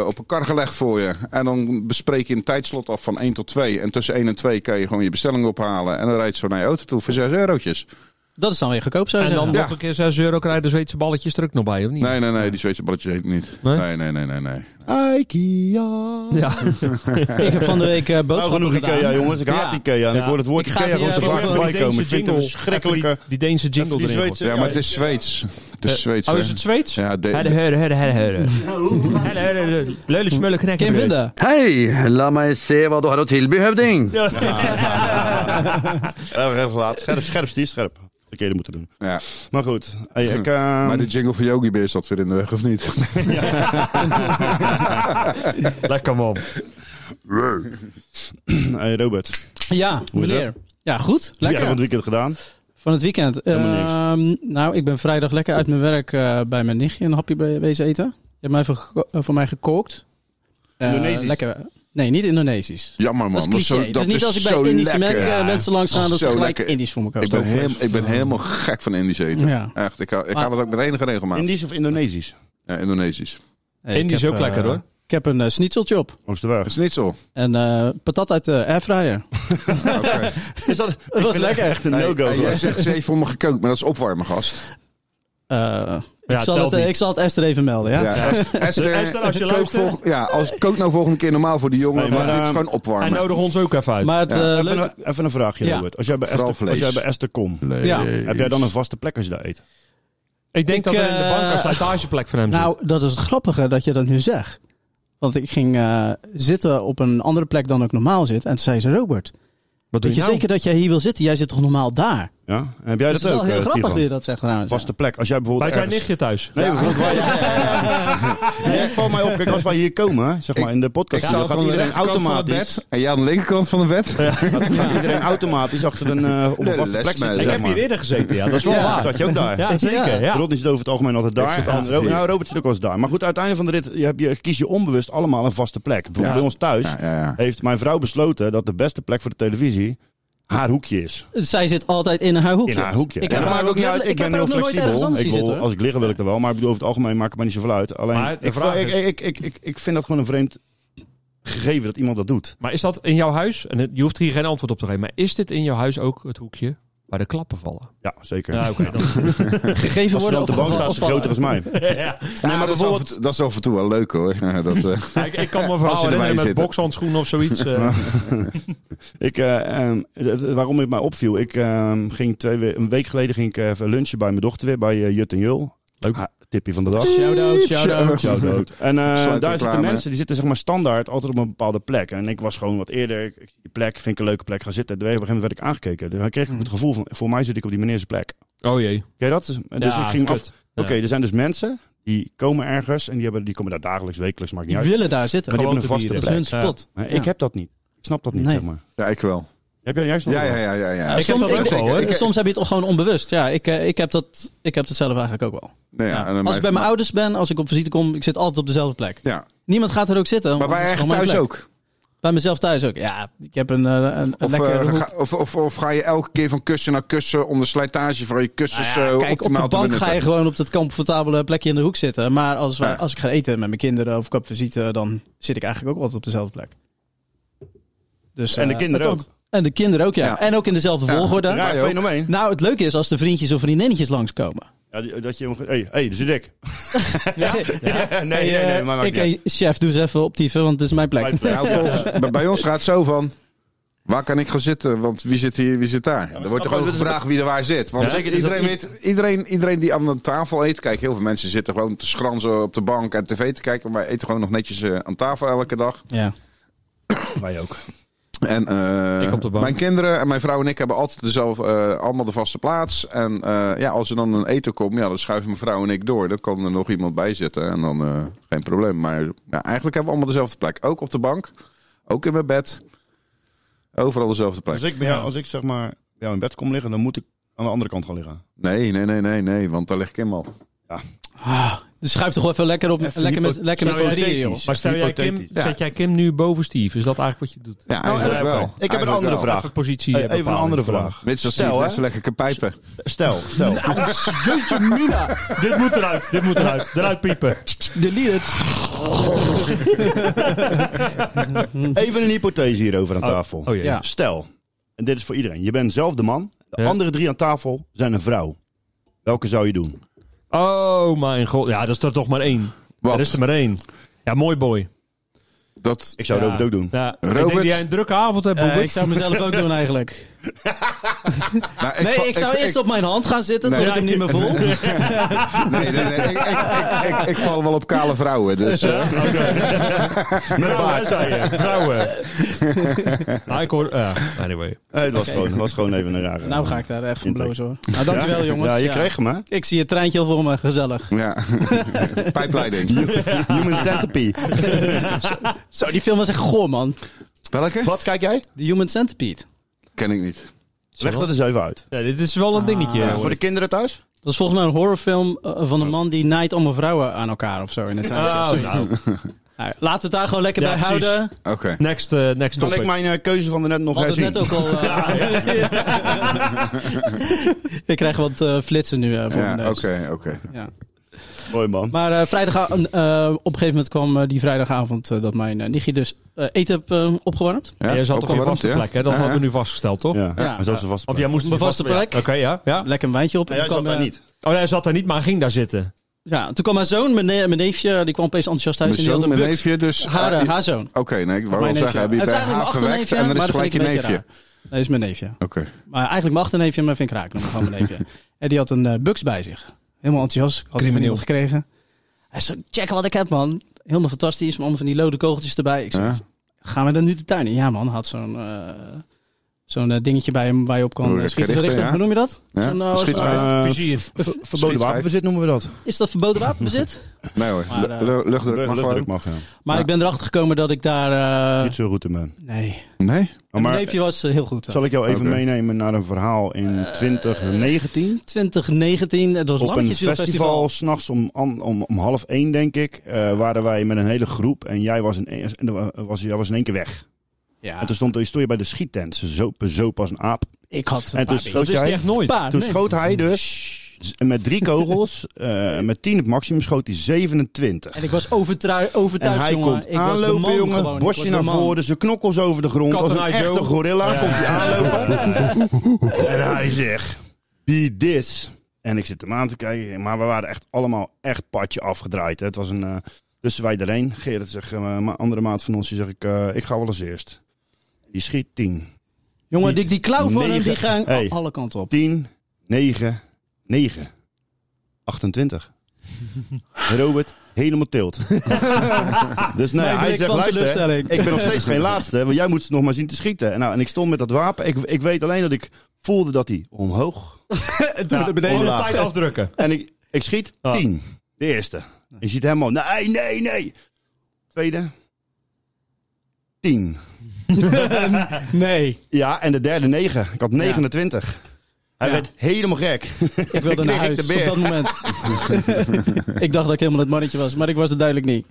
S2: eh, op een kar gelegd voor je. En dan bespreek je een tijdslot af van 1 tot 2. En tussen 1 en 2 kan je gewoon je bestelling ophalen. En dan rijdt ze zo naar je auto toe voor 6 eurotjes.
S1: Dat is dan weer goedkoop, zou je
S7: En dan
S1: zeggen.
S7: nog een keer 6 euro krijg je de Zweedse balletjes er ook nog bij, of niet?
S2: Nee, nee, nee, die Zweedse balletjes heet niet.
S7: Nee?
S2: Nee, nee, nee, nee, nee.
S4: Ikea.
S7: Ja.
S1: Ik heb van de week eh,
S3: Nou,
S1: boodschappen
S3: genoeg
S1: gedaan.
S3: Ikea, jongens. Ik haat
S1: Ja.
S3: Ikea. En ik
S7: Ja.
S3: hoor het woord
S1: Ik ga
S3: Ikea
S1: die,
S3: gewoon zo
S1: eh,
S3: vaak
S1: even
S3: voorbij
S7: Deense
S3: komen. Ik vind het een
S7: jingle. Even
S3: verschrikkelijke...
S7: Die, die Deense jingle
S3: Die
S7: erin. gooien.
S3: Zweedse...
S2: Ja, maar het is Zweeds. Het is Zweeds.
S7: Oh,
S2: hè.
S7: is het Zweeds?
S2: Ja, de-
S7: Herre, herre, herre, herre, herre. Herre, herre, herre. Leule, smulle, knekken.
S1: Kim Vinda.
S10: Hei, la meg se hva du har å tilby, høvding.
S3: Erg, erg laat. Scherp, scherp, Steve, scherp. De keren moeten doen.
S2: Ja.
S3: Maar goed. Hey, ik, eh,
S2: Hm. Maar de jingle van Yogi Bear zat weer in de weg, of niet?
S7: Lekker man.
S3: hey, Robert.
S1: Ja,
S3: Hoe is
S1: meneer. Ja, goed.
S3: Wat heb jij
S1: Lekker.
S3: van het weekend gedaan?
S1: Van het weekend?
S3: Helemaal
S1: Ehm, nou, ik ben vrijdag lekker uit mijn werk eh, bij mijn nichtje een hapje be- wezen eten. Je hebt mij even geko- eh, voor mij gekookt. Eh,
S3: Indonesisch?
S1: Lekker. Nee, niet Indonesisch.
S2: Jammer man.
S1: dat is cliché.
S2: zo-
S1: het is niet als ik bij Indische merken, eh, mensen langs gaan dat ze
S2: Zo
S1: gelijk
S2: lekker.
S1: Indisch voor me
S2: Ik
S1: kopen.
S2: ben, heem- ik ben helemaal gek van Indisch eten.
S1: Ja.
S2: Echt, ik, hou- ik
S1: Maar-
S2: ga het ook met enige regelmaat.
S3: Indisch of Indonesisch?
S2: Ja, Indonesisch.
S1: Hey, ik
S7: Indisch
S1: heb,
S7: ook
S1: eh,
S7: lekker, hoor.
S1: Ik heb een eh, snitseltje op.
S3: Langs de weg.
S2: Dat is niet zo.
S1: En eh, patat uit de airfryer.
S2: Oké.
S3: Is dat,
S1: Dat was lekker.
S3: echt een
S2: Nee,
S3: no-go.
S2: eh, jij
S3: geweest.
S2: zegt ze heeft voor me gekookt, maar dat is opwarmen gast.
S1: Eh, ik, zal
S7: telt
S1: het, eh,
S7: niet.
S1: ik zal het Esther even melden, ja?
S2: Ja, Est- Esther,
S7: Esther, als je
S2: kook
S7: luistert.
S2: volg- ja, als, kook nou volgende keer normaal voor die jongen,
S3: Nee,
S2: maar,
S3: maar,
S2: dit is
S3: ehm,
S2: gewoon
S7: Hij
S2: opwarmen.
S7: nodig ons ook even uit.
S1: Maar het, eh,
S3: even,
S1: leuke-
S3: een, even een vraagje,
S1: Ja.
S3: Robert. Als jij bij
S2: Vooral
S3: Esther, als
S2: vlees.
S3: jij bij Esther komt,
S1: ja.
S3: heb jij dan een vaste plek als je daar eet?
S7: ik denk
S1: ik,
S7: dat er in de
S1: eh,
S7: bank een slijtageplek voor hem zit.
S1: Nou, dat is het grappige dat je dat nu zegt. Want ik ging eh, zitten op een andere plek dan ik normaal zit. En toen zei ze, Robert,
S7: Wat doe
S1: weet
S7: je
S1: je
S7: nou?
S1: zeker dat jij hier wil zitten? Jij zit toch normaal daar?
S3: Ja? En Heb jij
S1: dat
S3: dat,
S1: is wel
S3: ook,
S1: heel
S3: eh,
S1: grappig
S3: Tigo?
S1: dat je dat zegt. Nou,
S3: Vaste plek. Als jij
S7: Wij
S3: bijvoorbeeld
S7: zijn
S3: ergens...
S7: nichtje thuis.
S3: Nee, bijvoorbeeld waar je... Nee, het valt mij op. Kijk, als wij hier komen, hè, zeg maar, in de podcast, dan gaat iedereen automatisch...
S2: En jij aan de linkerkant van de bed?
S3: gaat iedereen automatisch achter een, eh, op
S2: Nee,
S3: een vaste
S2: les
S3: plek
S2: mij.
S3: zitten.
S7: Ik
S3: zeg
S7: heb
S3: maar.
S7: hier eerder gezeten, ja. Dat is wel
S1: Ja.
S7: waar.
S3: Dat je ook daar.
S7: Ja, zeker. Ja.
S3: Rodney zit over het algemeen altijd daar.
S2: zit
S3: En
S2: altijd
S3: Ro-
S2: hier.
S3: nou, Robert zit ook wel eens daar. Maar goed, uiteindelijk van de rit je hebt, je, kies je onbewust allemaal een vaste plek. Bijvoorbeeld
S2: Ja.
S3: bij ons thuis
S2: Ja, ja, ja.
S3: heeft mijn vrouw besloten dat de beste plek voor de televisie haar hoekje is.
S1: Dus Zij zit altijd in haar hoekje.
S3: In haar hoekje.
S1: Ik
S3: En
S1: heb
S3: dat
S1: haar
S3: maakt
S1: ook
S3: ook niet
S1: net-
S3: uit. Ik
S1: heb
S3: ben
S1: haar
S3: heel
S1: ook nog nooit ergens
S3: flexibel.
S1: anders
S3: Ik
S1: zien
S3: wil,
S1: zitten,
S3: als ik liggen wil ik er wel. Maar ik bedoel, over het algemeen maakt het mij niet zoveel uit. Alleen,
S7: Maar de
S3: ik,
S7: vraag
S3: ik,
S7: is-
S3: ik, ik, ik, ik vind dat gewoon een vreemd gegeven dat iemand dat doet.
S7: Maar is dat in jouw huis, en het- je hoeft hier geen antwoord op te geven, maar is dit in jouw huis ook het hoekje waar de klappen vallen?
S3: Ja, zeker.
S7: Ja, oké. dan-
S1: Gegeven
S3: Als ze
S1: worden
S3: dan op de bank staat, is ze groter als mij.
S7: Ja.
S2: Nee, maar bijvoorbeeld... dat, is af en toe wel leuk hoor. Ja, Dat, eh,
S7: Ja, ik, ik kan me
S2: Als
S7: vooral
S2: je erbij
S7: herinneren met
S2: zit, hè.
S7: bokshandschoenen of zoiets. eh.
S3: Ik, eh, ehm, het- het- waarom het mij opviel, ik ehm, ging twee we- een week geleden ging ik eh, even lunchen bij mijn dochter weer bij eh, Jut en Jul. Leuk. tipje van de dag.
S1: Shout-out, shout-out.
S3: Shout-out. En eh,
S2: Sluit
S3: daar zitten
S2: reclame.
S3: mensen, die zitten zeg maar standaard altijd op een bepaalde plek. En ik was gewoon wat eerder, ik, ik zie die plek, vind ik een leuke plek, ga zitten. Toen Op een gegeven moment werd ik aangekeken. Dan
S7: Hmm.
S3: kreeg ik het gevoel van, voor mij zit ik op die meneer's plek.
S7: Oh jee.
S3: Ken je dat? Dus ik ging af. Oké, er zijn dus mensen die komen ergens en die, hebben, die komen daar dagelijks, wekelijks, maakt niet
S1: Die
S3: uit.
S1: willen daar zitten.
S3: Maar die
S1: Gewoon
S3: hebben een
S1: te
S3: vaste plek.
S1: bieden. Dat is hun spot.
S3: Maar ik
S1: Ja.
S3: heb dat niet. Ik snap dat niet,
S1: Nee.
S3: zeg maar.
S2: ja, ik wel.
S3: Heb jij juist nog
S2: Ja,
S3: wel?
S2: ja, ja. ja, ja.
S7: Ik heb dat ook wel, hoor.
S1: Ik- Soms heb je het gewoon onbewust. Ja, ik, eh, ik, heb dat, ik heb dat zelf eigenlijk ook wel.
S2: Nou ja,
S1: Ja.
S2: en dan
S1: Als ik bij mijn ouders ben, als ik op visite kom, ik zit altijd op dezelfde plek.
S2: Ja,
S1: Niemand gaat er ook zitten.
S2: maar
S1: want
S2: bij
S1: het is
S2: eigen
S1: gewoon mijn
S2: thuis
S1: plek.
S2: ook.
S1: Bij mezelf thuis ook. Ja, ik heb een, eh, een, een
S2: Of, eh,
S1: lekkere hoek.
S2: ga, of, of, of ga je elke keer van kussen naar kussen om de slijtage van je kussens
S1: Nou ja,
S2: eh,
S1: kijk, op
S2: optimaal
S1: de
S2: te
S1: bank
S2: benutten?
S1: ga je gewoon op dat comfortabele plekje in de hoek zitten. Maar als, wij,
S2: Ja.
S1: als ik ga eten met mijn kinderen of ik op visite, dan zit ik eigenlijk ook altijd op dezelfde plek. Dus,
S3: En de
S1: eh,
S3: kinderen
S1: het-
S3: ook.
S1: En de kinderen ook, ja.
S2: Ja.
S1: En ook in dezelfde
S2: Ja.
S1: volgorde.
S3: Raar
S2: Wij ook.
S3: fenomeen.
S1: Nou, het leuke is als de vriendjes of vriendinnetjes langskomen.
S3: Ja, die- dat je hem... ge- hey, hey, er zit ik.
S1: Ja?
S3: nee, nee, nee, maar maakt
S1: eh, ik,
S3: niet uit.
S1: hey, chef, doe eens even optieven, want het is mijn plek.
S2: Nou, volgens, bij- bij ons gaat het zo van. Waar kan ik gaan zitten? Want wie zit hier, wie zit daar? er wordt toch
S3: snap
S2: ook
S3: je, dat is-
S2: gevraagd wie er waar zit. Want
S3: Ja, zeker, dus dat
S2: iedereen, weet, iedereen, iedereen die aan de tafel eet... Kijk, heel veel mensen zitten gewoon te schranzen op de bank en tv te kijken. Maar wij eten gewoon nog netjes eh, aan tafel elke dag.
S1: Ja.
S3: Wij ook.
S2: En eh,
S7: Ik op de bank.
S2: mijn kinderen en mijn vrouw en ik hebben altijd dezelfde, eh, allemaal de vaste plaats. En eh, ja, als er dan een eten komt, ja, dan schuiven mijn vrouw en ik door. Dan kan er nog iemand bij zitten en dan eh, geen probleem. Maar ja, eigenlijk hebben we allemaal dezelfde plek. Ook op de bank, ook in mijn bed. Overal dezelfde plek.
S3: Als ik, bij jou- als ik zeg maar bij jou in bed kom liggen, dan moet ik aan de andere kant gaan liggen.
S2: Nee, nee, nee, nee, nee, want daar lig ik hem
S3: Oh,
S2: al.
S1: Ah, dus schuif toch wel even lekker op,
S3: Even
S1: lekker met,
S3: hypo-
S1: lekker met z'n drieën, joh.
S3: hypothetisch.
S7: Maar stel jij Kim,
S3: Hypothetisch. Ja.
S7: zet jij Kim nu boven Steve? Is dat eigenlijk wat je doet?
S2: Ja, eigenlijk
S3: Nou,
S2: wel.
S3: ik heb een
S2: Eigenlijk
S3: andere
S2: wel.
S3: vraag.
S7: Even positie
S3: Eh,
S7: hebben
S3: even een
S7: bepalen.
S3: andere vraag.
S2: Mits als
S3: Stel,
S2: hij net
S3: hè?
S2: zo lekker kan pijpen.
S3: Stel, stel.
S1: Nou. Jeetje mina,
S7: Dit moet eruit, dit moet eruit. Eruit piepen.
S1: delete het.
S3: Even een hypothese hierover aan tafel.
S7: Oh jee.
S1: Ja.
S3: Stel, en dit is voor iedereen. Je bent zelf de man. De
S7: Ja.
S3: andere drie aan tafel zijn een vrouw. Welke zou je doen?
S7: Oh mijn god. Ja, dat is er toch maar één.
S2: Wat?
S7: Er is er maar één. Ja, mooi boy.
S2: Dat,
S3: Ik zou
S7: ja.
S3: dat ook doen.
S7: Ja. Ik
S2: Robert?
S7: denk dat jij een drukke avond hebt, Robert.
S1: Eh, ik zou mezelf ook doen eigenlijk.
S2: Nou,
S1: Nee,
S2: va-
S1: ik zou eerst op mijn hand gaan zitten,
S2: Nee.
S1: tot ik hem niet meer voel.
S2: Nee, nee, nee, ik, ik, ik, ik, ik val wel op kale vrouwen. Dus, eh,
S7: Vrouwen, hè, zei je. Vrouwen. Ah, ik hoor... ja, anyway.
S3: Eh, het, was gewoon, het was gewoon even een rare...
S1: Nou ga ik daar echt van
S3: Intake.
S1: blozen hoor. Nou, dankjewel
S3: Ja?
S1: jongens.
S3: Ja, je kreeg hem, hè?
S1: Ik zie het treintje al voor me, gezellig.
S2: ja, pijpleiding.
S3: Human Centipede.
S1: Zo, die film was echt goor man.
S2: Welke?
S3: Wat kijk jij?
S1: The Human Centipede.
S2: Ken ik niet.
S3: Leg dat eens even uit.
S7: Ja, dit is wel een dingetje.
S3: Ah, Voor de kinderen thuis?
S1: Dat is volgens mij een horrorfilm eh, van een man die naait allemaal vrouwen aan elkaar of zo in het
S7: Oh,
S1: huis.
S7: nou.
S1: Nou, laten we het daar gewoon lekker
S7: Ja,
S1: bij
S7: precies.
S1: houden.
S2: Oké.
S7: Next, eh, next
S3: Kan ik
S7: topic.
S3: mijn eh, keuze van daarnet nog
S1: We hadden
S3: herzien?
S1: het net ook al. eh, ik krijg wat eh, flitsen nu eh, voor
S2: Ja,
S1: mijn
S2: oké,
S1: neus.
S2: oké.
S1: Ja.
S3: Mooi, man.
S1: Maar eh, vrijdag, eh, op een gegeven moment kwam eh, die vrijdagavond eh, dat mijn eh, nichtje dus eh, eten heb eh, opgewarmd.
S2: Ja,
S7: jij zat
S2: ook
S7: op
S2: al
S7: je
S2: warm,
S7: vaste
S2: ja.
S7: plek, hè? Dat
S2: Ja,
S7: hadden we
S2: ja.
S7: nu vastgesteld, toch?
S3: Ja,
S1: Ja.
S3: maar zo is het vast.
S7: Of jij moest
S1: Op een
S7: die
S1: vaste plek.
S7: ja. Oké, ja. ja.
S1: Lekker een wijntje op.
S3: Nee,
S1: En
S3: jij
S1: toen
S3: zat
S1: kwam,
S3: daar
S1: eh,
S3: niet.
S7: Oh, hij zat daar niet, maar hij ging daar zitten.
S1: Ja, toen kwam mijn zoon, mijn, ne- mijn neefje, die kwam opeens enthousiast thuis.
S2: Mijn
S1: en die
S2: zoon,
S1: had
S2: mijn
S1: een bux.
S2: neefje dus...
S1: Haar,
S2: ah,
S1: eh,
S2: je-
S1: haar zoon.
S2: Oké, nee, ik wou
S1: Mijn
S2: wel
S1: neefje.
S2: zeggen, heb je
S1: Het is
S2: bij
S1: eigenlijk
S2: haar
S1: mijn
S2: gewerkt
S1: achterneefje,
S2: en er
S1: maar
S2: is
S1: dat
S2: gelijk je
S1: vind ik een
S2: neefje.
S1: beetje
S2: Oké.
S1: Dat is mijn neefje. Maar eigenlijk mijn achterneefje, maar vind ik raak. Dan gewoon mijn neefje. En die had een eh, bux bij zich. Helemaal enthousiast. Had hij van iemand gekregen. Hij zei, check wat ik heb man. Helemaal fantastisch. Maar allemaal van die lode kogeltjes erbij. Ik zei,
S2: Ja.
S1: gaan we dan nu de tuin in? Ja man, had zo'n... eh, Zo'n eh, dingetje bij hem waar je op kan
S2: Oh,
S1: eh,
S2: dat
S1: schieten.
S2: gericht,
S1: gericht.
S2: ja.
S1: Hoe noem je dat?
S2: Ja,
S1: Zo'n, eh,
S2: schiet-
S1: zo'n-
S3: Eh,
S7: Plezier.
S3: ver- verboden wapenbezit noemen we dat.
S1: is dat verboden wapenbezit?
S2: Nee hoor,
S1: Maar, eh,
S2: lu- luchtdruk mag
S3: Luchtdruk
S2: gewoon.
S3: mag, ja.
S1: maar
S2: Ja.
S1: ik ben erachter gekomen dat ik daar... eh,
S3: Niet zo goed in ben.
S1: nee.
S2: Nee?
S3: Maar,
S1: Mijn neefje was eh, heel goed.
S3: zal ik jou even
S2: Oké.
S3: meenemen naar een verhaal
S1: Eh,
S3: in 2019?
S1: 2019, het was
S3: Op een
S1: Lammetjeswiel
S3: festival, s'nachts om, an- om, om half één, denk ik, eh, waren wij met een hele groep. En jij was in, één- en er wa- was, jij was in één keer weg.
S1: Ja,
S3: En toen stond, toen stond je bij de schiettent. Ze zopen zo pas een aap.
S1: ik had een
S3: en
S1: paar
S3: toen
S1: biertjes.
S3: schoot
S7: Dat is
S3: jij?
S7: echt nooit.
S1: Paar,
S3: Toen
S1: nee.
S3: schoot hij dus z- met drie kogels, eh, met tien het maximum, schoot hij 27.
S1: En ik was overtrui-
S3: En
S1: overtuigd,
S3: hij
S1: jongen.
S3: komt
S1: ik was de
S3: aanlopen,
S1: man
S3: jongen.
S1: gewoon. Ik was
S3: Bosje
S1: de
S3: naar
S1: man.
S3: voren, zijn knokkels over de grond.
S7: Cat
S3: Als een
S7: and I Joe.
S3: echte gorilla komt hij aanlopen. En hij zegt, be this. En ik zit hem aan te kijken. Maar we waren echt allemaal echt padje afgedraaid. hè. Het was een... eh, dus wij erheen. Gerrit zegt, eh, een andere maat van ons, die zeg ik, eh, ik ga wel als eerst. Die schiet 10.
S1: Jongen,
S3: Niet.
S1: die, die klauw van hem, die
S3: Negen.
S1: ging
S3: Hey.
S1: alle kanten op.
S3: 10, 9, 9, 28. Robert, helemaal tilt. dus nee,
S1: Mijn
S3: hij
S1: blik
S3: zegt,
S1: van
S3: luister,
S1: teleurstelling.
S3: ik ben nog steeds geen laatste, want jij moet nog maar zien te schieten. En, nou, en ik stond met dat wapen, ik, ik weet alleen dat ik voelde dat hij omhoog.
S1: En
S7: Ja, om de
S3: Hola.
S7: tijd afdrukken.
S3: En ik, ik schiet
S7: Ah.
S3: 10, de eerste. Je ziet hem al, nee, nee, nee. Tweede, 10.
S1: Nee,
S3: Ja, en de derde 9. Ik had 29. Hij
S1: Ja.
S3: werd helemaal gek.
S1: ik wilde naar
S3: knik
S1: huis
S3: de
S1: op
S3: beer.
S1: dat moment. ik dacht dat ik helemaal het mannetje was, maar ik was het duidelijk niet.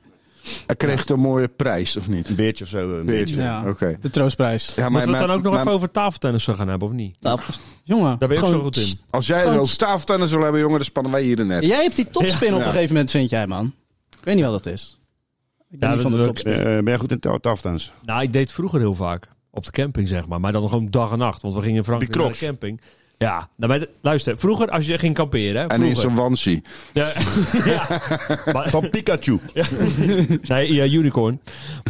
S2: Hij kreeg een mooie prijs, of niet?
S3: Een beertje of zo. Een
S2: Beertje.
S1: Ja.
S2: Oké.
S1: De troostprijs.
S2: Ja,
S7: Moeten we het
S2: mijn-
S7: dan ook nog
S2: mijn-
S7: even over tafeltennis gaan hebben, of niet?
S1: Tafels. Jongen,
S7: Daar ben je ook zo
S1: gewoon-
S7: goed in.
S2: Als jij een staaftennis wil hebben, jongen, dan spannen wij hier een net.
S1: Jij hebt die topspin op een
S2: Ja.
S1: gegeven moment, vind jij, man. Ik weet niet wat dat is. Ik ben
S7: Ja,
S1: niet van
S7: dat
S1: de
S7: ook-
S1: topspin.
S3: Eh, ben jij goed in ta- tafeltennis?
S7: Nou, ik deed het vroeger heel vaak. Op de camping, zeg maar. Maar dan gewoon dag en nacht. Want we gingen in Frankrijk
S3: Die
S7: naar de
S3: crocs.
S7: camping. Ja, nou, maar de- luister, vroeger als je ging kamperen...
S2: En in zijn wansie.
S7: Ja,
S2: Van
S7: Pikachu. Nee, ja, unicorn.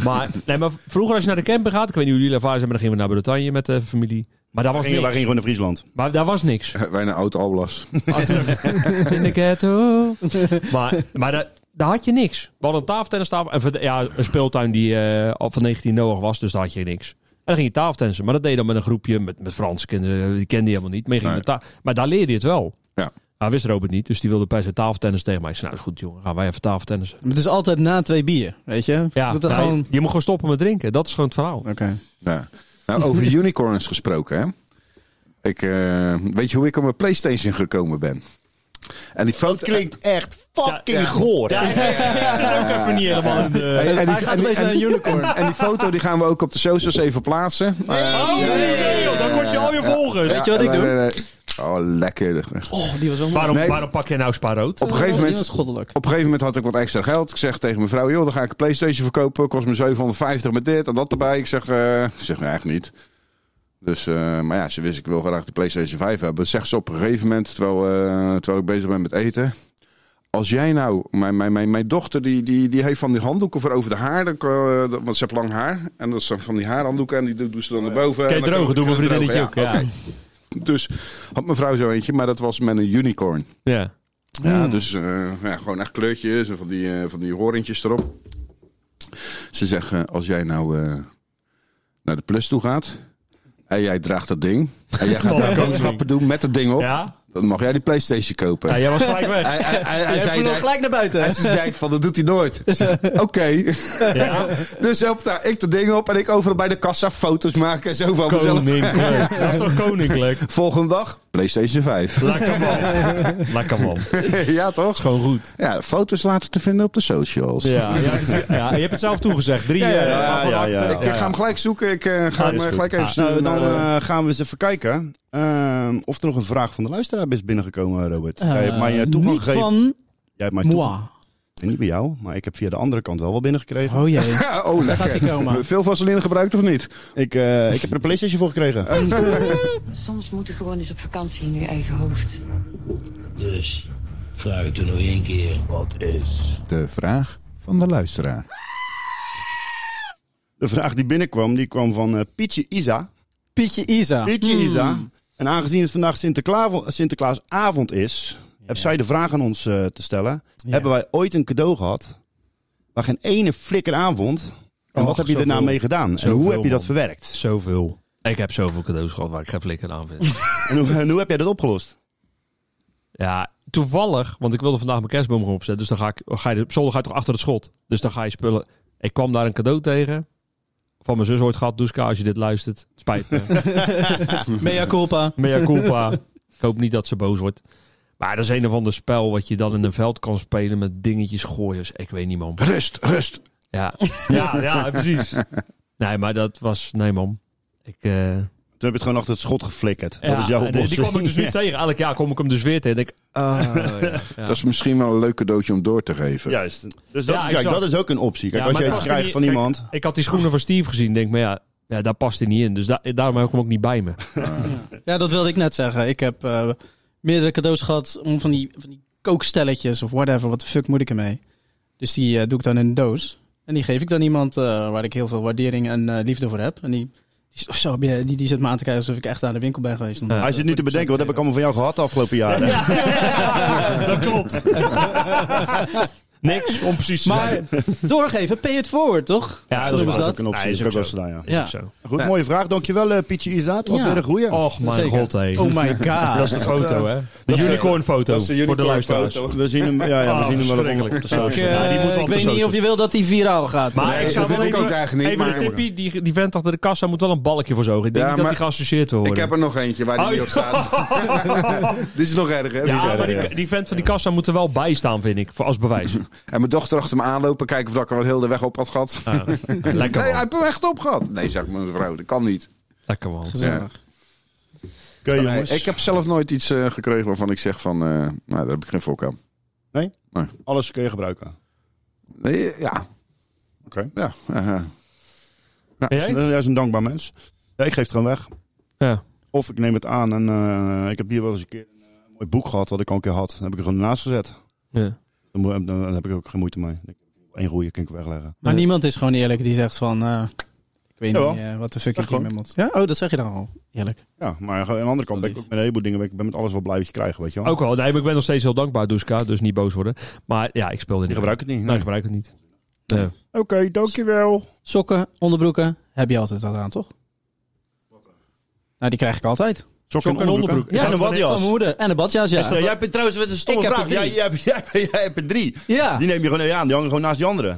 S7: Maar, nee, maar vroeger als je naar de camper gaat... Ik weet niet hoe jullie ervaring zijn, maar dan gingen we naar Bretagne met de familie. Maar daar was
S3: gingen-
S7: niks.
S3: wij gingen gewoon naar Friesland.
S7: Maar daar was niks.
S2: Wij naar Oud-Alblas.
S7: In de ghetto. Maar, maar daar, daar had je niks. We hadden een tafeltennistafel. En verd- ja, een speeltuin die eh, al van 1990 was, dus daar had je niks. En dan ging je tafeltennissen. Maar dat deed je dan met een groepje, met, met Franse kinderen. eh, Die kende je helemaal niet. Maar, je ging
S2: Nee.
S7: met ta- maar daar leerde je het wel.
S2: Ja.
S7: Hij wist Robert niet, dus die wilde per se tafeltennis tegen mij. Ik zei, nou is goed jongen, gaan wij even tafeltennissen.
S1: Maar het is altijd na twee bier, weet je?
S7: Ja,
S1: Dat dan
S7: nou,
S1: gewoon...
S7: je moet gewoon stoppen met drinken. Dat is gewoon het verhaal. Oké.
S2: Ja. Nou, over unicorns gesproken, hè. Ik, eh, weet je hoe ik op mijn Playstation gekomen ben? En die foto...
S11: Klinkt echt fucking goor.
S7: Ja, ik zit ook even niet helemaal in de...
S2: Eh, Hey,
S1: Hij gaat opeens naar een unicorn.
S2: En, en die foto die gaan we ook op de socials even plaatsen.
S7: Oh nee, joh, dan kost je al je volgers.
S1: Weet je wat ik doe?
S2: doe? Oh, lekker.
S1: Oh, die was wel
S7: Waarom,
S2: Nee.
S7: waarom pak je nou spa rood?
S2: Op een gegeven
S1: Oh, Dat is
S2: moment...
S1: goddelijk.
S2: Op een gegeven moment had ik wat extra geld. Ik zeg tegen mijn vrouw, joh, dan ga ik een Playstation verkopen. Kost me 750 met dit en dat erbij. Ik zeg, eh, ze zegt, nee, echt niet. Dus, eh, maar ja, ze wist, ik wil graag de Playstation 5 hebben. Zegt ze op een gegeven moment, terwijl, eh, terwijl ik bezig ben met eten. Als jij nou, mijn, mijn, mijn, mijn dochter, die, die, die heeft van die handdoeken voor over de haar. dan kan, eh, dat- want ze heeft lang haar. En dat zijn van die haarhanddoeken en die doet, doet ze dan naar boven.
S7: Kun je
S2: En dan
S7: drogen,
S2: kan-
S7: doe mijn
S2: kan je
S7: vriendinnetje ook.
S2: drogen,
S7: Ja.
S2: oké. Dus had mijn vrouw zo eentje, maar dat was met een unicorn.
S7: Ja.
S2: Ja, dus eh, ja, gewoon echt kleurtjes en van die, eh, van die horentjes erop. Ze zeggen, als jij nou eh, naar de plus toe gaat en jij draagt dat ding en jij gaat
S7: Oh,
S2: daar
S7: dat
S2: boodschappen doen met dat ding op,
S7: Ja?
S2: dan mag jij die Playstation kopen.
S7: Ja, jij was gelijk weg.
S2: Hij, hij, hij, hij zei,
S1: vloog
S2: hij-
S1: gelijk naar buiten.
S2: hij zei, denkt van, dat doet hij nooit. Ik zeg, Oké.
S7: Ja.
S2: Dus helpt daar ik dat ding op en ik overal bij de kassa foto's maken en zo van mezelf.
S7: Koninklijk. Dat is toch koninklijk?
S2: Volgende dag, Playstation 5.
S7: Lekker man. Lekker man.
S2: ja, toch?
S7: Gewoon goed.
S2: Ja, foto's later te vinden op de socials.
S7: Ja, ja, dus- ja, je hebt het zelf toegezegd. Drie
S2: Ja, ja,
S7: eh,
S2: ja,
S7: van
S3: ja,
S7: achter.
S3: ja.
S2: Ik, ik ga hem gelijk zoeken. Ik eh, ga hem
S3: is
S2: eh,
S3: goed.
S2: gelijk even
S3: Nou,
S2: sturen.
S3: dan
S2: naar, eh,
S3: eh, gaan we eens even kijken ehm, of er nog een vraag van de luisteraar is binnengekomen, Robert. Jij hebt mij eh,
S1: Eh,
S3: toegang
S1: niet
S3: gegeven.
S1: van
S3: Jij hebt mij
S1: moi.
S3: toegang- Niet bij jou, maar ik heb via de andere kant wel wat binnengekregen.
S1: Oh jee.
S2: ja, oh,
S1: Daar
S2: lekker.
S1: gaat hij komen.
S2: Veel vaseline gebruikt of niet?
S3: Ik, eh, ik heb er een Playstation voor gekregen.
S12: Soms moeten gewoon eens op vakantie in je eigen hoofd.
S13: Dus, vraag het er nog één keer. Wat is?
S2: De vraag van de luisteraar.
S3: De vraag die binnenkwam, die kwam van eh, Pietje Isa.
S1: Pietje Isa.
S3: Pietje
S1: Hmm.
S3: Isa. En aangezien het vandaag Sinterkla- Sinterklaasavond is, heb zij de vraag aan ons eh, te stellen. Hebben wij ooit een cadeau gehad waar geen ene flikker aan vond? En wat
S7: Och,
S3: heb je daarna
S7: zoveel.
S3: mee gedaan? En hoe
S7: Zoveel,
S3: heb je dat
S7: man.
S3: verwerkt?
S7: Zoveel. Ik heb zoveel cadeaus gehad waar ik geen flikker aan vind.
S3: En hoe, en hoe heb jij dat opgelost?
S7: Ja, toevallig, want ik wilde vandaag mijn kerstboom gaan opzetten. Dus dan ga ik, ga je, de- zolder ga je toch achter het schot. Dus dan ga je spullen. Ik kwam daar een cadeau tegen. Van mijn zus ooit gehad, Doeska, als je dit luistert. Spijt me.
S1: Mea culpa.
S7: Mea culpa. ik hoop niet dat ze boos wordt. Maar dat is een of ander spel wat je dan in een veld kan spelen met dingetjes gooien. Dus ik weet niet, man.
S2: Rust, rust.
S7: Ja, ja, ja precies. Nee, maar dat was... Nee, man. Ik, eh,
S3: Toen heb je het gewoon achter het schot geflikkerd. dat
S7: ja,
S3: is jouw
S7: en die-
S3: oplossing.
S7: die kwam ik dus nu tegen. Elk jaar kom ik hem dus weer tegen. En denk, ik, ah, ja, ja.
S2: Dat is misschien wel een leuk cadeautje om door te geven.
S3: Juist. Dus dat,
S7: Ja,
S3: kijk,
S7: exact.
S3: dat is ook een optie. Kijk,
S7: Ja,
S3: als
S7: maar
S3: je
S7: het
S3: iets
S7: past
S3: krijgt
S7: niet-
S3: van
S7: kijk,
S3: iemand.
S7: Ik had die schoenen van Steve gezien. Denk, maar ja, ja daar past hij niet in. Dus da- daarom heb ik hem ook niet bij me.
S1: Ja, dat wilde ik net zeggen. Ik heb eh, meerdere cadeaus gehad om van die, van die kookstelletjes of whatever. Wat de fuck moet ik ermee? Dus die eh, doe ik dan in een doos. En die geef ik dan iemand eh, waar ik heel veel waardering en eh, liefde voor heb. En die, die, is- oh, zo, heb je- die, die zit me aan te kijken alsof ik echt aan de winkel ben geweest. Dan-
S7: Ja.
S3: Hij zit nu te bedenken, wat heb ik allemaal van jou gehad de afgelopen jaren?
S7: dat klopt. Niks, om precies te
S1: Maar
S7: zijn.
S1: doorgeven, pay it forward, toch?
S7: Ja,
S1: Zo
S7: dat is
S1: noemen
S7: waar.
S1: ze
S3: Dat is ook een optie.
S7: Nee, is
S3: dat heb
S7: ook
S3: ik wel eens gedaan, ja.
S1: Ja.
S7: Is ook zo.
S3: Goed, mooie vraag. Dankjewel, eh, Pietje Isa. Het was
S1: Ja.
S3: weer een goeie.
S7: Och, mijn
S1: Zeker.
S7: god, hé.
S1: Oh my god.
S7: Dat is de foto, hè? De
S3: dat is-
S7: unicorn-foto voor de luisteraars.
S3: We zien hem, ja, Oh, ja, we
S7: Ah,
S3: zien hem wel op-
S7: verschrikkelijk.
S3: op de
S1: Ik,
S3: social.
S1: eh,
S7: Ja, die moet wel
S1: ik
S7: op de
S1: weet niet
S7: social.
S1: of je wil dat die viraal gaat.
S7: Maar
S2: Nee,
S7: ik zou
S2: dat
S7: wel
S2: wil ik
S7: even,
S2: ook eigenlijk niet,
S7: even
S2: maar-
S7: de tippie, die, die vent achter de kassa moet wel een balkje voor zogen. Ik denk
S2: Ja,
S7: niet dat
S2: maar-
S7: die geassocieerd wil
S2: Ik
S7: worden.
S2: heb er nog eentje waar die
S7: Oh,
S2: niet op staat. Dit is nog erger.
S7: ja,
S2: Ja,
S7: maar die, die vent van die kassa moet er wel bij staan, vind ik, voor, als bewijs.
S2: En mijn dochter achter me aanlopen, kijken of dat ik er wel heel de weg op had gehad.
S7: Ah, lekker
S2: nee, hij
S7: man.
S2: heeft hem echt op gehad. Nee, zegt mijn vrouw, dat kan niet.
S7: Lekker man.
S2: Ja.
S3: Oké,
S2: Nee,
S3: jongens.
S2: ik heb zelf nooit iets eh, gekregen waarvan ik zeg van, eh, nou, daar heb ik geen volk aan.
S3: Alles kun je gebruiken.
S2: Nee, ja.
S3: Oké.
S2: Ja, eh, ja, ja.
S7: En
S3: Hij
S7: jij?
S3: is een dankbaar mens. Ja, ik geef het gewoon weg.
S7: Ja.
S3: Of ik neem het aan en eh, ik heb hier wel eens een keer een eh, mooi boek gehad, wat ik al een keer had. Dan heb ik er gewoon naast gezet.
S7: Ja.
S3: Dan, moet- dan- dan heb ik ook geen moeite mee. Eén roeier kan ik wegleggen.
S1: Maar niemand is gewoon eerlijk die zegt van... eh, ik weet
S3: Jawel.
S1: niet eh, wat de fuck
S3: Zeg
S1: ik hiermee moet. Ja? Oh, dat zeg je dan al. Eerlijk.
S3: Ja, maar aan de andere kant ben ik ook met een heleboel dingen, ben ik ben met alles wel blij wat je krijgt, weet je wel.
S7: Ook wel, nee, maar ik ben nog steeds heel dankbaar, Duska, dus niet boos worden. Maar ja, ik speelde niet.
S3: Je gebruikt het niet,
S7: Nee,
S3: nee.
S7: ik gebruik het niet. Nee.
S3: Oké, dankjewel.
S1: Sokken, onderbroeken heb je altijd al aan, toch? Nou, die krijg ik altijd.
S3: Sokken en onderbroeken.
S1: Ja,
S11: En een badjas.
S1: Van mijn moeder. En een badjas, ja.
S11: Esther, jij hebt trouwens met een stomme
S1: Ik heb er
S11: vraag.
S1: drie.
S11: Jij, jij, hebt- jij, hebt- jij hebt er drie.
S1: Ja.
S11: Die neem je gewoon aan. Die hangen gewoon naast die andere.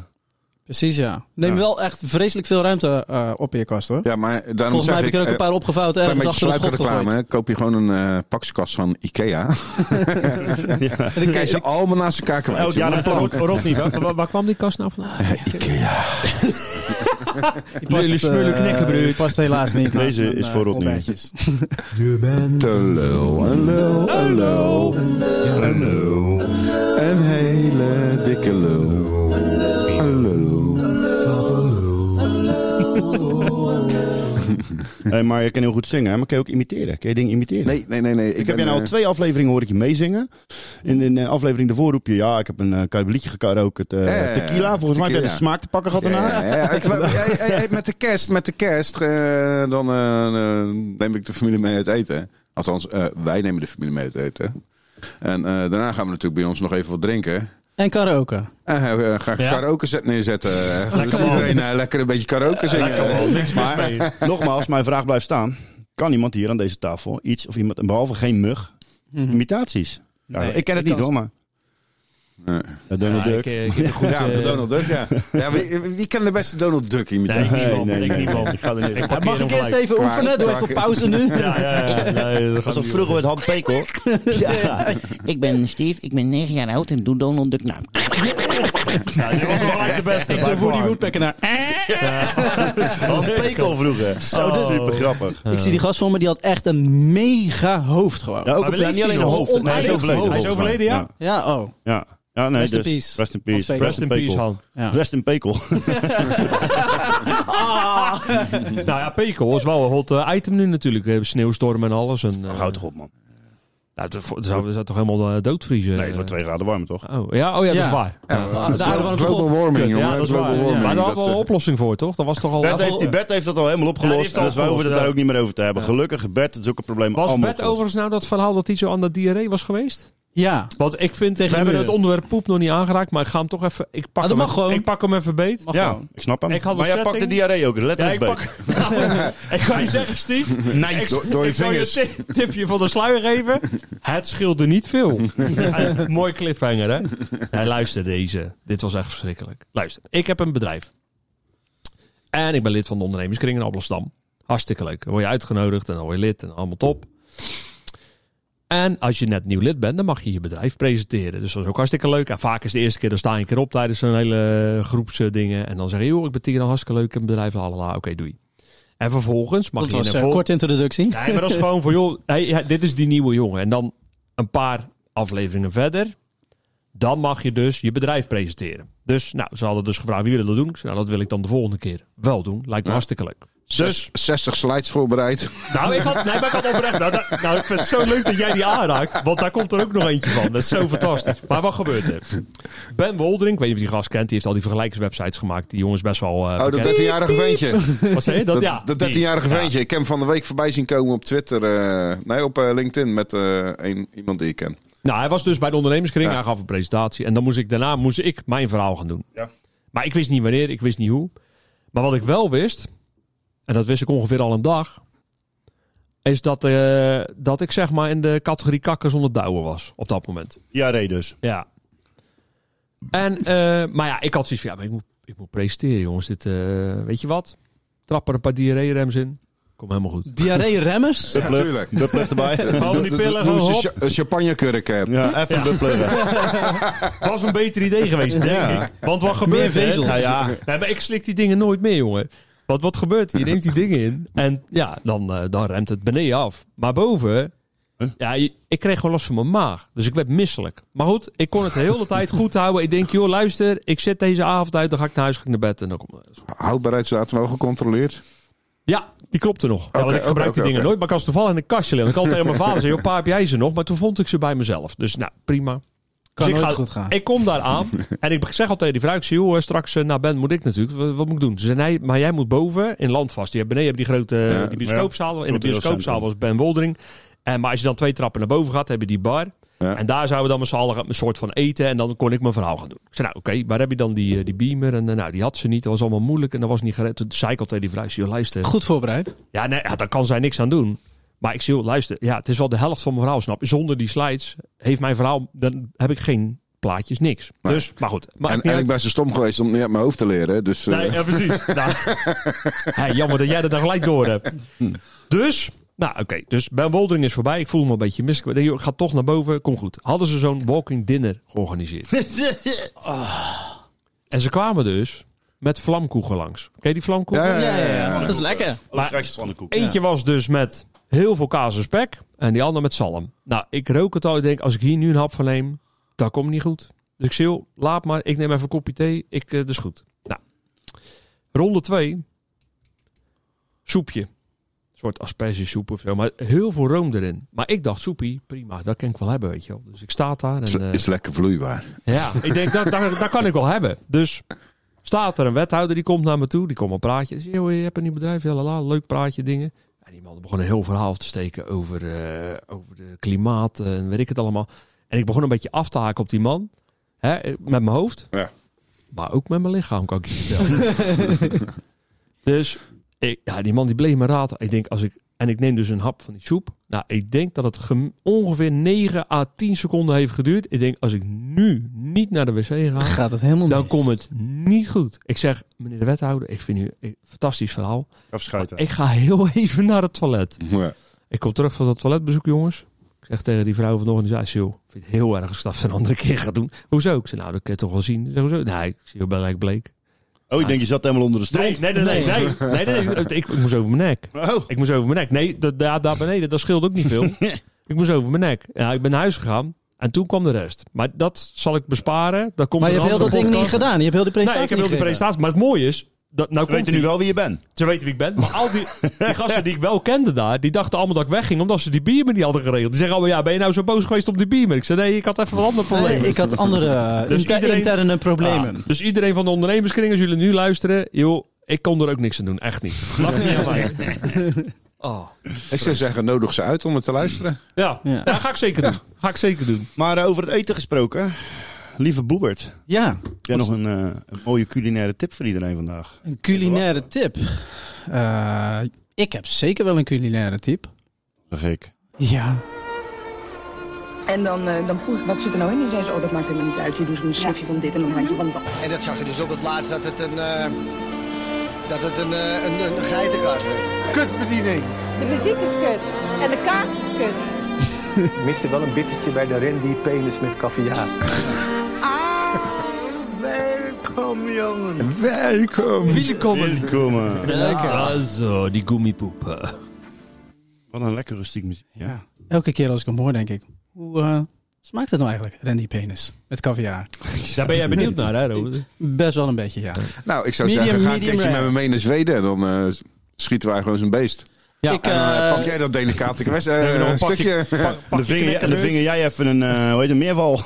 S1: Precies, ja. Neem wel echt vreselijk veel ruimte eh, op in je kast, hoor.
S2: Ja, maar daarom
S1: Volgens mij
S2: zeg
S1: heb ik er ook
S2: eh,
S1: een paar opgevouwd
S2: klein
S1: ergens
S2: beetje
S1: achter de schot
S2: sluiperreclame,
S1: gegooid.
S2: hè. Koop je gewoon een eh, pakskast van Ikea. Dan krijg je ze allemaal naast elkaar kwijt.
S7: Elk
S2: joh.
S7: jaar een plank.
S2: Eh,
S7: Rodney, waar, waar- waar kwam die kast nou vandaan?
S1: past,
S7: Lullen, smullen,
S1: eh,
S7: knekken, broer.
S1: die past helaas niet.
S3: Deze
S1: naast een,
S3: is
S1: eh,
S3: voor Rodney.
S1: ontbijtjes.
S2: Je bent een lul, een lul, een lul. Ja, een lul. Een hele dikke lul. Een lul.
S3: Hey, maar je kan heel goed zingen, hè? maar kan je ook imiteren? Kan je dingen imiteren?
S2: Nee, nee, nee. nee.
S3: Ik, heb je nou
S2: eh,
S3: twee afleveringen hoor ik je meezingen. In, in een aflevering daarvoor roep je, ja, ik heb een uh, liedje gekarookt. eh,
S2: Ja, ja, ja.
S3: tequila, volgens mij heb je de
S2: Tequila.
S3: smaak te pakken gehad
S2: Ja,
S3: daarna.
S2: ja, ja. Ik wou- jij- jij- jij- met de kerst, met de kerst, eh, dan eh, eh, neem ik de familie mee uit eten. Althans, eh, wij nemen de familie mee uit eten. En eh, daarna gaan we natuurlijk bij ons nog even wat drinken.
S1: En karaoke.
S2: En eh, ga ik
S1: Ja.
S2: karaoke set neerzetten. dus
S1: man.
S2: iedereen eh, lekker een beetje karaoke zingen.
S3: Maar nogmaals, mijn vraag blijft staan. Kan iemand hier aan deze tafel iets, of iemand, en behalve geen mug, imitaties? Ja,
S2: Nee,
S3: Mhm. ik ken het
S2: ik
S3: niet
S2: kan
S3: hoor, maar... Ja, Donald Duck.
S7: eh,
S2: ja, Donald Duck, ja. ja wie, wie kan de beste Donald Duck imitatie?
S3: Nee, ik niet, man. Ik niet, man. Ik ga er niet- Ik parkeer Mag hem ik eerst gelijk. even
S2: Klaar,
S3: oefenen? Doe
S2: klaar.
S3: even pauze nu.
S7: Ja, ja, ja. Nee, dat
S11: was
S7: gaat
S11: al
S7: niet
S11: vroeger met Han Peek, hoor. Ja. Ik ben Steve, ik ben 9 jaar oud en doe Donald Duck Nou. naam.
S7: dit was wel gelijk de beste.
S1: Ik de Woody Woodpecker naar...
S11: Han Peek al vroeger.
S1: Zo,
S3: Oh.
S1: dat-
S11: Super grappig.
S1: Ik zie die gast voor me, die had echt een mega hoofd gewoon.
S3: Ja, ook op- niet alleen een hoofd. Nee, hij is overleden. volgens mij.
S1: Ja, oh.
S3: Ja. Ja, nee,
S1: Rest in
S3: dus
S1: peace.
S3: Rest in
S1: Hans
S3: peace.
S1: Pekel. Rest in
S3: Pekel.
S1: peace, Han. Ja.
S3: Rest in pekel.
S7: Nou ja, Pekel is wel een hot eh, item nu natuurlijk. We hebben sneeuwstorm en alles. En, eh,
S3: Oh, Houd toch op, man.
S7: nou, het vo- het zou, het zou toch helemaal eh, doodvriezen?
S3: Nee, het wordt twee graden warmer, toch?
S7: Oh, ja, oh ja, dat
S1: Ja.
S7: is waar.
S1: Ja,
S7: Ja.
S1: maar- De aarde warmt toch
S2: Global
S1: op?
S2: warming,
S7: Kut,
S2: jongen.
S7: ja, dat is
S2: Global
S7: waar.
S2: warming.
S7: Maar daar
S2: Dat,
S7: hadden we al
S2: eh,
S7: een oplossing voor, toch? Dat was toch al...
S11: Bert heeft, die, Bert heeft dat al helemaal
S7: Ja, die
S11: opgelost.
S7: heeft het al
S11: dus wij hoeven het
S7: opgelost,
S11: daar
S7: ja.
S11: ook niet meer over te hebben. Gelukkig, Bert, het is ook een probleem.
S7: Was
S11: allemaal
S7: Bert
S11: opgelost.
S7: overigens nou dat verhaal dat hij zo aan de diarree was geweest?
S1: Ja.
S7: Want ik vind, we
S1: de
S7: hebben het
S1: muren.
S7: onderwerp poep nog niet aangeraakt, maar ik ga hem toch even... Ik pak,
S1: Ah, dat
S7: hem,
S1: mag
S7: even-
S1: gewoon.
S7: Ik pak hem even beet.
S1: Mag
S3: Ja,
S1: gewoon.
S3: ik snap hem.
S7: Ik had een
S3: maar jij
S7: setting.
S3: pakt de diarree ook,
S7: Ja, ik,
S3: letterlijk bij.
S7: pak, ik ga je zeggen, Steve.
S3: Nice.
S7: Ik,
S3: Door- door je
S7: ik zal je
S3: vingers.
S7: een tip- tipje van de sluier geven. Het scheelde niet veel. Ja, mooi cliffhanger, hè? Nee, luister deze. Dit was echt verschrikkelijk. Luister, ik heb een bedrijf. En ik ben lid van de ondernemerskring in Amsterdam. Hartstikke leuk. Dan word je uitgenodigd en dan word je lid en allemaal top. En als je net nieuw lid bent, dan mag je je bedrijf presenteren. Dus dat is ook hartstikke leuk. En vaak is de eerste keer, dan sta je een keer op tijdens zo'n hele groepsdingen. En dan zeg je, joh, ik ben Tino, hartstikke leuk, ik heb een bedrijf, lalala, oké, doei. En vervolgens mag
S1: Dat
S7: je... in
S1: was
S3: eh,
S7: een
S1: een
S7: vol-
S1: korte introductie.
S7: Nee, maar dat is gewoon voor, joh, hey, ja, dit is die nieuwe jongen. En dan een paar afleveringen verder, dan mag je dus je bedrijf presenteren. Dus, nou, ze hadden dus gevraagd, wie wil dat doen? Ik zei, nou, dat wil ik dan de volgende keer wel doen. Lijkt me hartstikke leuk.
S2: zes- 60 slides voorbereid.
S7: Nou, ik had, nee, maar ik had oprecht. Nou, dat- nou, ik vind het zo leuk dat jij die aanraakt. Want daar komt er ook nog eentje van. Dat is zo fantastisch. Maar wat gebeurt er? Ben Woldering, ik weet niet of je die gast kent. Die heeft al die vergelijkingswebsites gemaakt. Die jongen is best wel. eh
S2: Oh, dat
S7: bekend.
S2: 13-jarige ventje.
S7: Wat zei je? Dat,
S2: Dat,
S7: ja.
S2: dat
S7: die.
S2: 13-jarige
S7: Ja.
S2: ventje. Ik heb hem van de week voorbij zien komen op Twitter. eh, nee, op eh, LinkedIn met eh, een, iemand die ik ken.
S7: Nou, hij was dus bij de ondernemerskring. Hij gaf een presentatie. En dan moest ik, daarna moest ik mijn verhaal gaan doen.
S3: Ja.
S7: Maar ik wist niet wanneer, ik wist niet hoe. Maar wat ik wel wist, en dat wist ik ongeveer al een dag, is dat, eh, dat ik zeg maar in de categorie kakken zonder douwen was op dat moment.
S3: Diarree dus.
S7: Ja. En, eh, maar ja, ik had zoiets van, ja, maar ik moet, ik moet presenteren, jongens. Dit, eh, weet je wat? Trap er een paar diarree-rems in. Komt helemaal goed.
S1: Diarree-remmers?
S3: Bubbler.
S2: tuurlijk.
S3: Bubbler erbij.
S7: Gewoon die pillen, gewoon
S2: Doe eens
S7: hop.
S2: een cha- een champagnekurk. eh.
S3: Ja, even bubbler.
S7: Was een beter idee geweest, denk
S3: Ja.
S7: ik. Want wat gebeurt er?
S1: vezels.
S7: Nou
S3: ja.
S7: Nee, maar ik slik die dingen nooit meer, jongen. Want wat gebeurt er? Je neemt die dingen in en ja, dan, eh, dan remt het beneden af. Maar boven, ja, je- ik kreeg gewoon last van mijn maag. Dus ik werd misselijk. Maar goed, ik kon het de hele tijd goed houden. Ik denk, joh, luister, ik zet deze avond uit, dan ga ik naar huis, ga ik naar bed en dan komt het.
S2: Houdbaarheidsdatum wel gecontroleerd.
S7: Ja, die klopte nog. ja, want
S2: Oké,
S7: ik gebruik
S2: oké,
S7: die dingen
S2: oké.
S7: nooit, maar ik had ze toevallig in een kastje liggen. Ik had tegen mijn vader zei, joh, pa, heb jij ze nog? Maar toen vond ik ze bij mezelf. Dus nou, prima.
S1: Kan
S7: dus ik
S1: nooit goed gaan.
S7: Ik kom daar aan en ik zeg al tegen die vrouw, ik zeg, joh, straks eh, naar Ben moet ik natuurlijk. Wat, wat moet ik doen? Ze zei, nee, maar jij moet boven in Landvast. Je hebt beneden heb je die grote eh,
S2: Ja,
S7: die bioscoopzaal.
S2: ja,
S7: in de bioscoopzaal was Ben Woldering. En, maar als je dan twee trappen naar boven gaat, heb je die bar. En daar zouden we dan met z'n allen gaan- een soort van eten. En dan kon ik mijn verhaal gaan doen. Ik zei, nou oké, waar heb je dan die, eh, die beamer? En eh, nou, die had ze niet. Dat was allemaal moeilijk. En dat was niet gered. Toen zei ik al tegen die vrouw, ik zei, joh, luister.
S1: Goed voorbereid.
S7: Ja, nee, ja, daar kan zij niks aan doen. Maar ik zie, luister, ja, het is wel de helft van mijn verhaal, snap je? Zonder die slides heeft mijn verhaal, dan heb ik geen plaatjes, niks. Dus, maar goed. Maar
S2: en en ik ben zo stom geweest om niet uit mijn hoofd te leren. Dus, eh,
S7: Nee, ja, precies. nou, hey, jammer dat jij dat dan gelijk door hebt.
S2: Hmm.
S7: Dus, nou oké, dus Ben Woldering is voorbij. Ik voel me een beetje mis. Ik denk, joh, ik ga toch naar boven, kom goed. Hadden ze zo'n walking dinner georganiseerd. Ah. En ze kwamen dus met vlamkoeken langs. Ken je die vlamkoeken?
S1: Ja, ja, ja, ja. Dat is lekker.
S3: Oostenrijkse pannenkoek.
S7: Eentje was dus met heel veel kaas en spek. En die andere met zalm. Nou, ik rook het al. Ik denk, als ik hier nu een hap van neem, dat komt niet goed. Dus ik zeg, joh, laat maar. Ik neem even een kopje thee. Ik, eh, dat is goed. Nou, ronde twee. Soepje. Een soort aspergesoep of zo. Maar heel veel room erin. Maar ik dacht, soepie, prima. Dat kan ik wel hebben, weet je wel. Dus ik sta daar.
S2: is,
S7: En, eh,
S2: is lekker vloeibaar.
S7: ja, ik denk, dat, dat, dat kan ik wel hebben. Dus staat er een wethouder, die komt naar me toe. Die komt een praatje. Zegt, joh, je hebt een nieuw bedrijf, ja, la, la, leuk praatje, dingen. En die man begon een heel verhaal te steken over, eh, over de klimaat eh, en weet ik het allemaal. En ik begon een beetje af te haken op die man. Hè, met mijn hoofd. Maar ook met mijn lichaam, kan ik je vertellen. dus ik, ja, die man die bleef me raad. Ik denk, als ik, en ik neem dus een hap van die soep. Nou, ik denk dat het gem- ongeveer 9 à 10 seconden heeft geduurd. Ik denk, als ik nu niet naar de wc ga,
S1: Gaat het helemaal
S7: dan komt het niet goed. Ik zeg, meneer de wethouder, ik vind u een fantastisch verhaal.
S3: Afschuiten.
S7: Ik ga heel even naar het toilet.
S2: Ja.
S7: Ik kom terug van dat toiletbezoek, jongens. Ik zeg tegen die vrouw van de organisatie, joh, ik vind het heel erg als dat ze een andere keer gaat doen. Hoezo? Ik zeg, nou, dat kun je toch wel zien. Ze zegt, hoezo? Nee, ik zie je gelijk bleek.
S3: Oh, ik denk je zat helemaal onder de stront. Oh,
S7: Nee, nee, nee. nee, nee, nee, nee. Ik, ik moest over mijn nek. Ik moest over mijn nek. Nee, dat, daar, daar beneden, dat scheelt ook niet veel. ik moest over mijn nek. Ja, ik ben naar huis gegaan. En toen kwam de rest. Maar dat zal ik besparen. Dat komt
S1: Maar je
S7: in een
S1: hebt heel dat
S7: andere
S1: ding niet
S7: podcast.
S1: gedaan. Je hebt heel die
S7: Nee,
S1: presentatie
S7: ik heb heel die
S1: niet gegeven.
S7: presentatie. Maar het mooie is... Dat, nou
S3: Ze weten nu wel wie je bent.
S7: Ze weten wie ik ben. Maar al die, die gasten die ik wel kende daar... die dachten allemaal dat ik wegging... omdat ze die biermen niet hadden geregeld. Die zeggen allemaal... ja, ben je nou zo boos geweest op die biermen? Ik zei... nee, ik had even wat andere problemen.
S1: Nee, ik had andere eh,
S7: Dus
S1: inter-
S7: iedereen-
S1: interne problemen.
S7: Ja, dus iedereen van de ondernemerskring... als jullie nu luisteren... joh, ik kon er ook niks aan doen. Echt niet. Lach niet aan mij. Oh.
S2: Ik zou zeggen, nodig ze uit om het te luisteren.
S7: Ja, ja. ga ik zeker doen. Ga ik zeker doen.
S3: Maar eh, over het eten gesproken. Lieve Boebert.
S1: Ja.
S3: Heb jij nog een, eh, een mooie culinaire tip voor iedereen vandaag?
S1: Een culinaire tip. Eh, ik heb zeker wel een culinaire tip.
S3: Zeg ik.
S1: Ja.
S14: En dan, eh, dan vroeg ik, wat zit er nou in? En zei ze, oh, dat maakt helemaal niet uit. Je doet een snufje van dit en een handje van dat.
S15: En dat zag je dus op het laatst dat het een, eh, dat het een, eh, een, een geitenkaas werd. Kutbediening.
S16: De muziek is kut en de kaart is kut.
S17: Ik miste wel een bittertje bij de rendier penis met caviar.
S13: Welkom, jongen.
S2: Welkom.
S13: Welkom.
S3: Welkom. eh.
S13: Ja,
S3: Ah,
S7: zo, die gummipoep.
S3: Wat een lekker rustiek muziek. Ja.
S1: Elke keer als ik hem hoor, denk ik... Hoe eh, smaakt het nou eigenlijk, Randy Penis? Met caviar.
S7: Daar ben jij benieuwd naar, hè, Robert?
S1: Best wel een beetje, ja.
S2: Nou, ik zou
S1: Medium,
S2: zeggen, ga een
S1: medium
S2: keertje met
S1: rare.
S2: me mee naar Zweden. en Dan eh, schieten wij gewoon zo'n beest.
S1: Ja,
S2: en dan eh,
S1: eh,
S2: pak jij dat delicate kwest, eh,
S3: Dan hebben we nog
S2: een
S3: pakje-
S2: stukje.
S3: de, vinger, de vinger jij even een, eh, hoe heet het, meerval.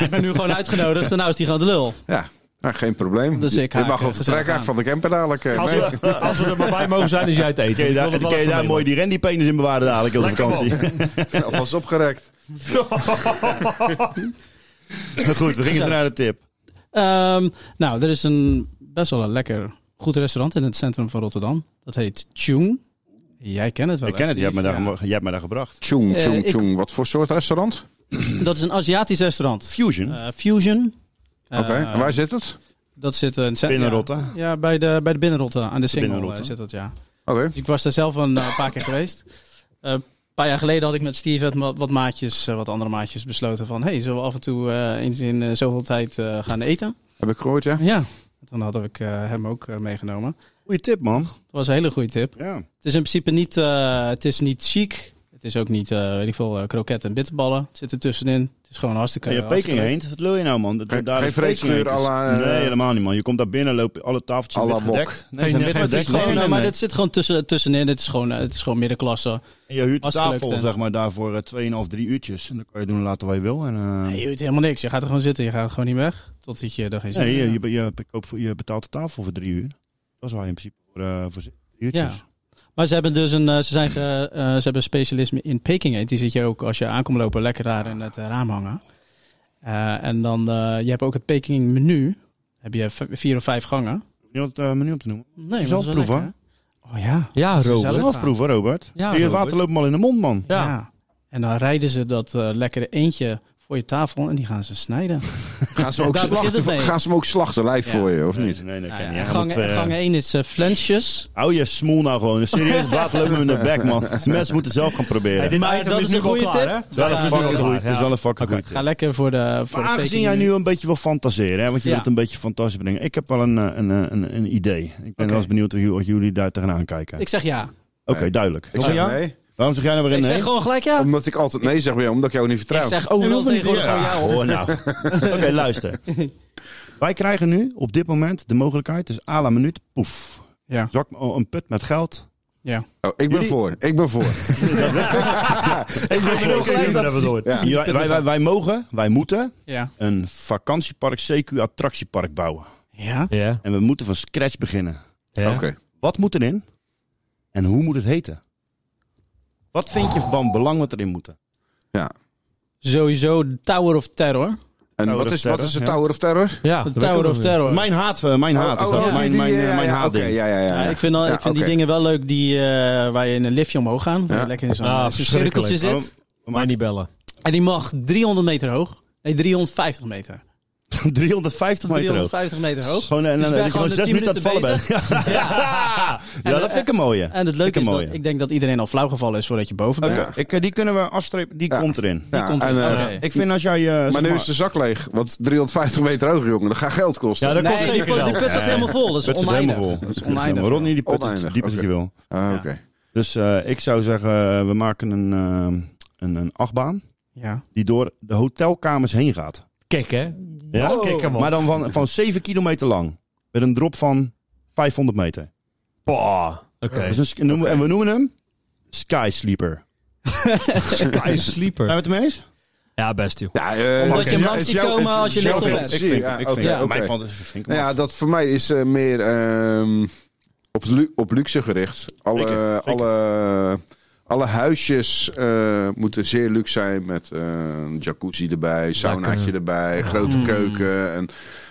S1: ik ben nu gewoon uitgenodigd en nou is die gewoon de lul.
S2: Ja, nou, geen probleem.
S1: Dus ik
S2: je
S1: haak,
S2: mag
S1: eh,
S2: op de
S1: gezellig
S2: trekhaak
S1: aan.
S2: van de camper dadelijk. eh,
S7: Als we, als we er maar bij mogen zijn, is jij het eten.
S3: Kun je
S7: Ik wil
S3: daar,
S7: het wel
S3: kun je
S7: even
S3: daar
S7: meemaken.
S3: mooi die rendiepenen in bewaren dadelijk op de
S7: Lekker
S3: vakantie.
S2: nee. Alvast opgerekt.
S3: Maar goed, we gingen
S1: Gezellig.
S3: naar de tip.
S1: Ehm, nou, er is een best wel een lekker goed restaurant in het centrum van Rotterdam. Dat heet Tune. Jij kent het wel.
S3: Ik ken het, jij hebt me
S1: Steve?
S3: daar, jij hebt me daar gebracht.
S2: Tjoeng,
S1: Eh,
S2: tjoeng,
S1: ik-
S2: tjoeng. Wat voor soort restaurant?
S1: Ja. Dat is een Aziatisch restaurant. Eh,
S3: Fusion.
S1: Fusion.
S2: Oké, en waar zit het?
S1: Dat zit eh, in het cent-
S2: Binnenrotte?
S1: Ja, ja, bij, de, bij de Binnenrotte. Aan de Singel
S2: Binnenrotte.
S1: eh, zit dat, ja.
S2: Oké.
S1: Dus ik was daar zelf een eh, paar keer geweest. Eh, een paar jaar geleden had ik met Steve en wat, wat maatjes, eh, wat andere maatjes besloten van... hey, zullen we af en toe eh, eens in eh, zoveel tijd eh, gaan eten?
S2: Heb ik gehoord, ja?
S1: Ja. Dan had ik eh, hem ook eh, meegenomen.
S3: Goeie tip, man.
S1: Dat was een hele goede tip.
S3: Ja.
S1: Het is in principe niet, eh, het is niet chic. Het Het is ook niet, eh, weet ik veel, eh, kroketten en bitterballen. Het zit er tussenin. Het is gewoon hartstikke...
S3: Kan je Peking
S1: hartstikke leuk.
S3: heen? Wat wil je nou, man? Dat,
S1: Geen-
S3: daar
S1: geen
S3: is Peking
S1: vreeskleur
S3: heen.
S1: à la, eh,
S3: nee, helemaal niet, man. Je komt daar binnen, lopen alle tafeltjes
S1: À la
S3: wit
S1: wok.
S3: gedekt.
S1: Nee,
S3: ze zijn
S1: nee,
S3: wit
S1: maar het is
S3: gedekt.
S1: gewoon-
S3: Nee, nee,
S1: maar
S3: nee.
S1: dit zit gewoon tussen, tussenin. Het is gewoon, eh, het is gewoon middenklasse.
S3: En je huurt de
S1: Hartstikke leuk
S3: tafel,
S1: tent.
S3: zeg maar, daarvoor eh, 2,5, 3 uurtjes. En dan kan je doen en laten wat je wil. En, eh,
S1: Nee, je doet helemaal niks. Je gaat er gewoon zitten. Je gaat gewoon niet weg. Totdat je er geen zin
S3: nee,
S1: in
S3: je,
S1: hebt.
S3: je, be- je, be- koopt voor- je betaalt de tafel voor 3 uur. Dat is waar je in principe voor, eh, voor zit. Uurtjes.
S1: Ja. Maar ze hebben dus een, eh, ze zijn, ge- eh, ze hebben een specialisme in Peking eend. Die zit je ook als je aankomt lopen lekker daar in het eh, raam hangen. Eh, en dan, eh, je hebt ook het Peking menu. Heb je v- vier of vijf gangen.
S3: Je had het eh, menu op te noemen.
S1: Nee, maar dat is wel
S3: zelf proeven.
S1: lekker, Oh ja.
S7: Ja,
S1: Dat is
S7: Robert.
S1: zelf
S3: Zelf proeven, Robert.
S1: Ja,
S3: je
S1: Robert.
S3: water loopt hem al in de mond, man.
S1: Ja. En dan rijden ze dat eh, lekkere eentje voor je tafel en die gaan ze snijden.
S2: Gaan ze,
S1: En
S2: ook
S1: daar begint
S2: slachten,
S1: het mee.
S2: gaan ze hem ook slachten lijf
S1: Ja.
S2: voor je, of niet?
S3: Nee, nee,
S1: Ja,
S3: ken je. Hij
S1: gang,
S3: moet, eh,
S1: gang 1 is eh, flensjes.
S3: Hou je smoel nou gewoon. Serieus, water loopt hem in de bek, man. Mensen moeten zelf gaan proberen.
S1: Hey, dit Maar item dat is is nu een wel goede klaar, tip. hè?
S3: Het is wel
S1: Ja,
S3: een
S1: dat is nu
S3: fucking
S1: wel
S3: goeie-
S1: klaar,
S3: Het is wel
S1: ja.
S3: een fucking goeie tip.
S1: Ga lekker voor de voor
S3: Maar
S1: de
S3: aangezien
S1: Peking
S3: jij nu
S1: menu.
S3: een beetje wil fantaseren, hè, want je
S1: Ja.
S3: wilt een beetje fantasie brengen. Ik heb wel een, eh, een, eh, een, een idee. Ik ben wel eens benieuwd hoe- wat jullie daar tegenaan kijken.
S1: Ik zeg ja.
S3: Oké, duidelijk.
S2: Ik
S3: Waarom
S2: zeg
S3: Oh, ja?
S2: nee.
S3: Waarom zeg jij nou weer
S1: Ik
S3: nee?
S1: zeg gewoon gelijk ja.
S2: Omdat ik altijd nee zeg bij jou, omdat ik jou niet vertrouw.
S1: Ik zeg overal tegenwoordig gewoon ja hoor.
S3: hoor nou. Oké, luister. Wij krijgen nu op dit moment de mogelijkheid, dus à la minuut, poef.
S1: Ja.
S3: Zak oh, een put met geld.
S1: Ja.
S2: Oh, ik ben
S3: Jullie-
S2: voor, ik ben voor.
S3: Ik ben voor. Ja, wij, wij, wij, wij mogen, wij moeten
S1: Ja.
S3: een vakantiepark, CQ-attractiepark bouwen.
S1: Ja.
S7: Ja.
S3: En we moeten van scratch beginnen.
S7: Ja.
S2: Oké.
S3: Wat moet erin? En hoe moet het heten? Wat vind je van belang wat erin moet?
S2: Ja.
S1: Sowieso de Tower of Terror.
S2: En
S3: Tower
S2: wat
S3: of
S2: is,
S3: Terror,
S2: wat is de
S3: ja.
S2: Tower of Terror?
S7: Ja,
S1: De Tower of Terror.
S3: Mijn haat, eh, mijn haat is
S2: Oh,
S3: dat.
S2: oh, die-
S3: mijn
S2: die-
S3: mijn,
S2: ja, ja,
S3: mijn
S2: ja,
S3: haatding.
S2: oké, ja, ja, ja.
S1: Ja, ik vind, al,
S2: Ja,
S1: ik vind
S2: oké.
S1: die dingen wel leuk die, eh, waar je in een liftje omhoog gaat. Waar
S2: Ja.
S1: je lekker in zo'n eh,
S7: Ah,
S1: zo'n
S7: verschrikkelijk.
S1: cirkeltje zit.
S7: Oh, mij niet bellen.
S1: En die mag 300 meter hoog. Nee, 350 meter.
S3: 350 meter hoog.
S1: 350 meter hoog.
S3: Gewoon, en,
S1: Dus
S3: en,
S1: ik ben
S3: dat je gewoon
S1: de
S3: zes
S1: 10
S3: minuten aan het vallen bent.
S1: bezig. Ja.
S3: Ja, dat vind ik een mooie.
S1: En het
S3: Vind ik
S1: leuke
S3: een
S1: is,
S3: mooie.
S1: dat, ik denk dat iedereen al flauw gevallen is voordat je boven bent.
S3: Oké, ik, eh, die kunnen we afstrepen. Die komt erin.
S1: Die
S2: Ja,
S1: komt
S2: en,
S1: erin.
S2: eh,
S1: Oké.
S3: Ik vind als jij... eh, zeg
S2: Maar nu is de
S3: maar-
S2: zak leeg, want 350 meter hoog, jongen, dat gaat geld kosten.
S7: Ja, dat
S1: Nee,
S7: kost
S1: die,
S7: zeker
S1: put- die
S7: geld.
S1: put zat helemaal vol. Dat is
S3: Put zit
S1: oneindig.
S3: helemaal vol.
S1: Dat is
S3: Oneindig.
S1: oneindisch.
S3: Ronnie, die put is
S2: Oneindig,
S3: diep als
S2: oké.
S3: je wil.
S2: Ah, oké.
S3: Dus eh, ik zou zeggen, eh, we maken een, eh, een, een achtbaan
S1: Ja.
S3: die door de hotelkamers heen gaat.
S7: Kijk, hè?
S3: Ja?
S7: Kijk hem op.
S3: Maar dan van, van 7 kilometer lang. Met een drop van 500 meter.
S7: Bah. Oké.
S3: Dus een sk- noemen- En we noemen hem Sky Sleeper.
S7: Sky
S3: Zijn
S7: Sleeper.
S3: we het ermee eens?
S7: Ja, best joh.
S2: Ja, eh,
S1: Omdat
S2: oké.
S1: je hem
S2: Ja,
S1: langs
S2: is
S1: ziet
S2: jouw-
S1: komen
S2: is
S1: als je
S2: jouw
S1: ligt op
S2: fantasie.
S1: bed.
S3: Ik vind,
S2: Ja,
S3: ik
S2: oké,
S3: vind,
S2: oké.
S3: mijn fantasie vind ik
S2: Nou ja, dat voor mij is eh, meer ehm, op, lu- op luxe gericht. Alle,
S3: Zeker, zeker.
S2: alle, alle huisjes eh, moeten zeer luxe zijn met eh, een jacuzzi erbij, saunaatje erbij, grote
S3: Mm.
S2: keuken en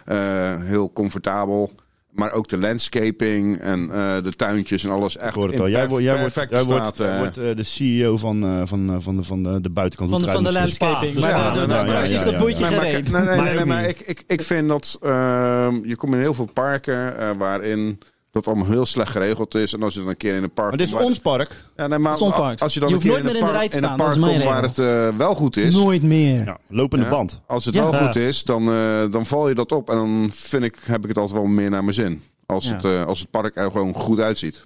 S2: eh, heel comfortabel. Maar ook de landscaping en eh, de tuintjes en alles. Echt
S3: Ik hoor het
S2: in
S3: al. Jij,
S2: perf-
S3: wordt- jij wordt,
S2: perfecte
S3: jij wordt,
S2: staat, eh.
S3: jij wordt eh, de CEO van, eh, van, eh, van, de, van de, de buitenkant.
S1: Van de-
S3: Hoe
S1: van de
S3: draait het?
S1: landscaping.
S3: Dus
S1: Maar
S3: ja,
S1: de- de-
S3: ja,
S1: de
S3: ja,
S1: attractie is
S3: ja,
S1: dat
S3: ja,
S1: bootje
S3: ja.
S2: Nee, maar,
S1: gereed.
S2: ik- nee, nee,
S7: Maar
S2: nee,
S7: ook
S2: maar
S7: niet.
S2: ik, ik, ik vind dat ehm, je komt in heel veel parken eh, waarin dat allemaal heel slecht geregeld is. En als je dan een keer in een park
S3: Maar dit is
S2: komt waar-
S3: ons park.
S2: Ja, nee, maar
S1: Het is ons park.
S2: Als je dan
S1: Je
S2: een
S1: hoeft
S2: keer
S1: nooit
S2: in
S1: meer in de rij
S2: een park,
S1: te
S2: in een
S1: staan, dat
S2: park
S1: is mijn
S2: komt waar het eh, wel goed is.
S1: Nooit meer.
S3: Ja, lopende
S2: Ja.
S3: band.
S2: Als het
S1: Ja.
S2: wel
S1: Ja.
S2: goed is, dan, eh, dan val je dat op. En dan vind ik, heb ik het altijd wel meer naar mijn zin. Als,
S1: Ja.
S2: het, eh, als het park er gewoon goed uitziet.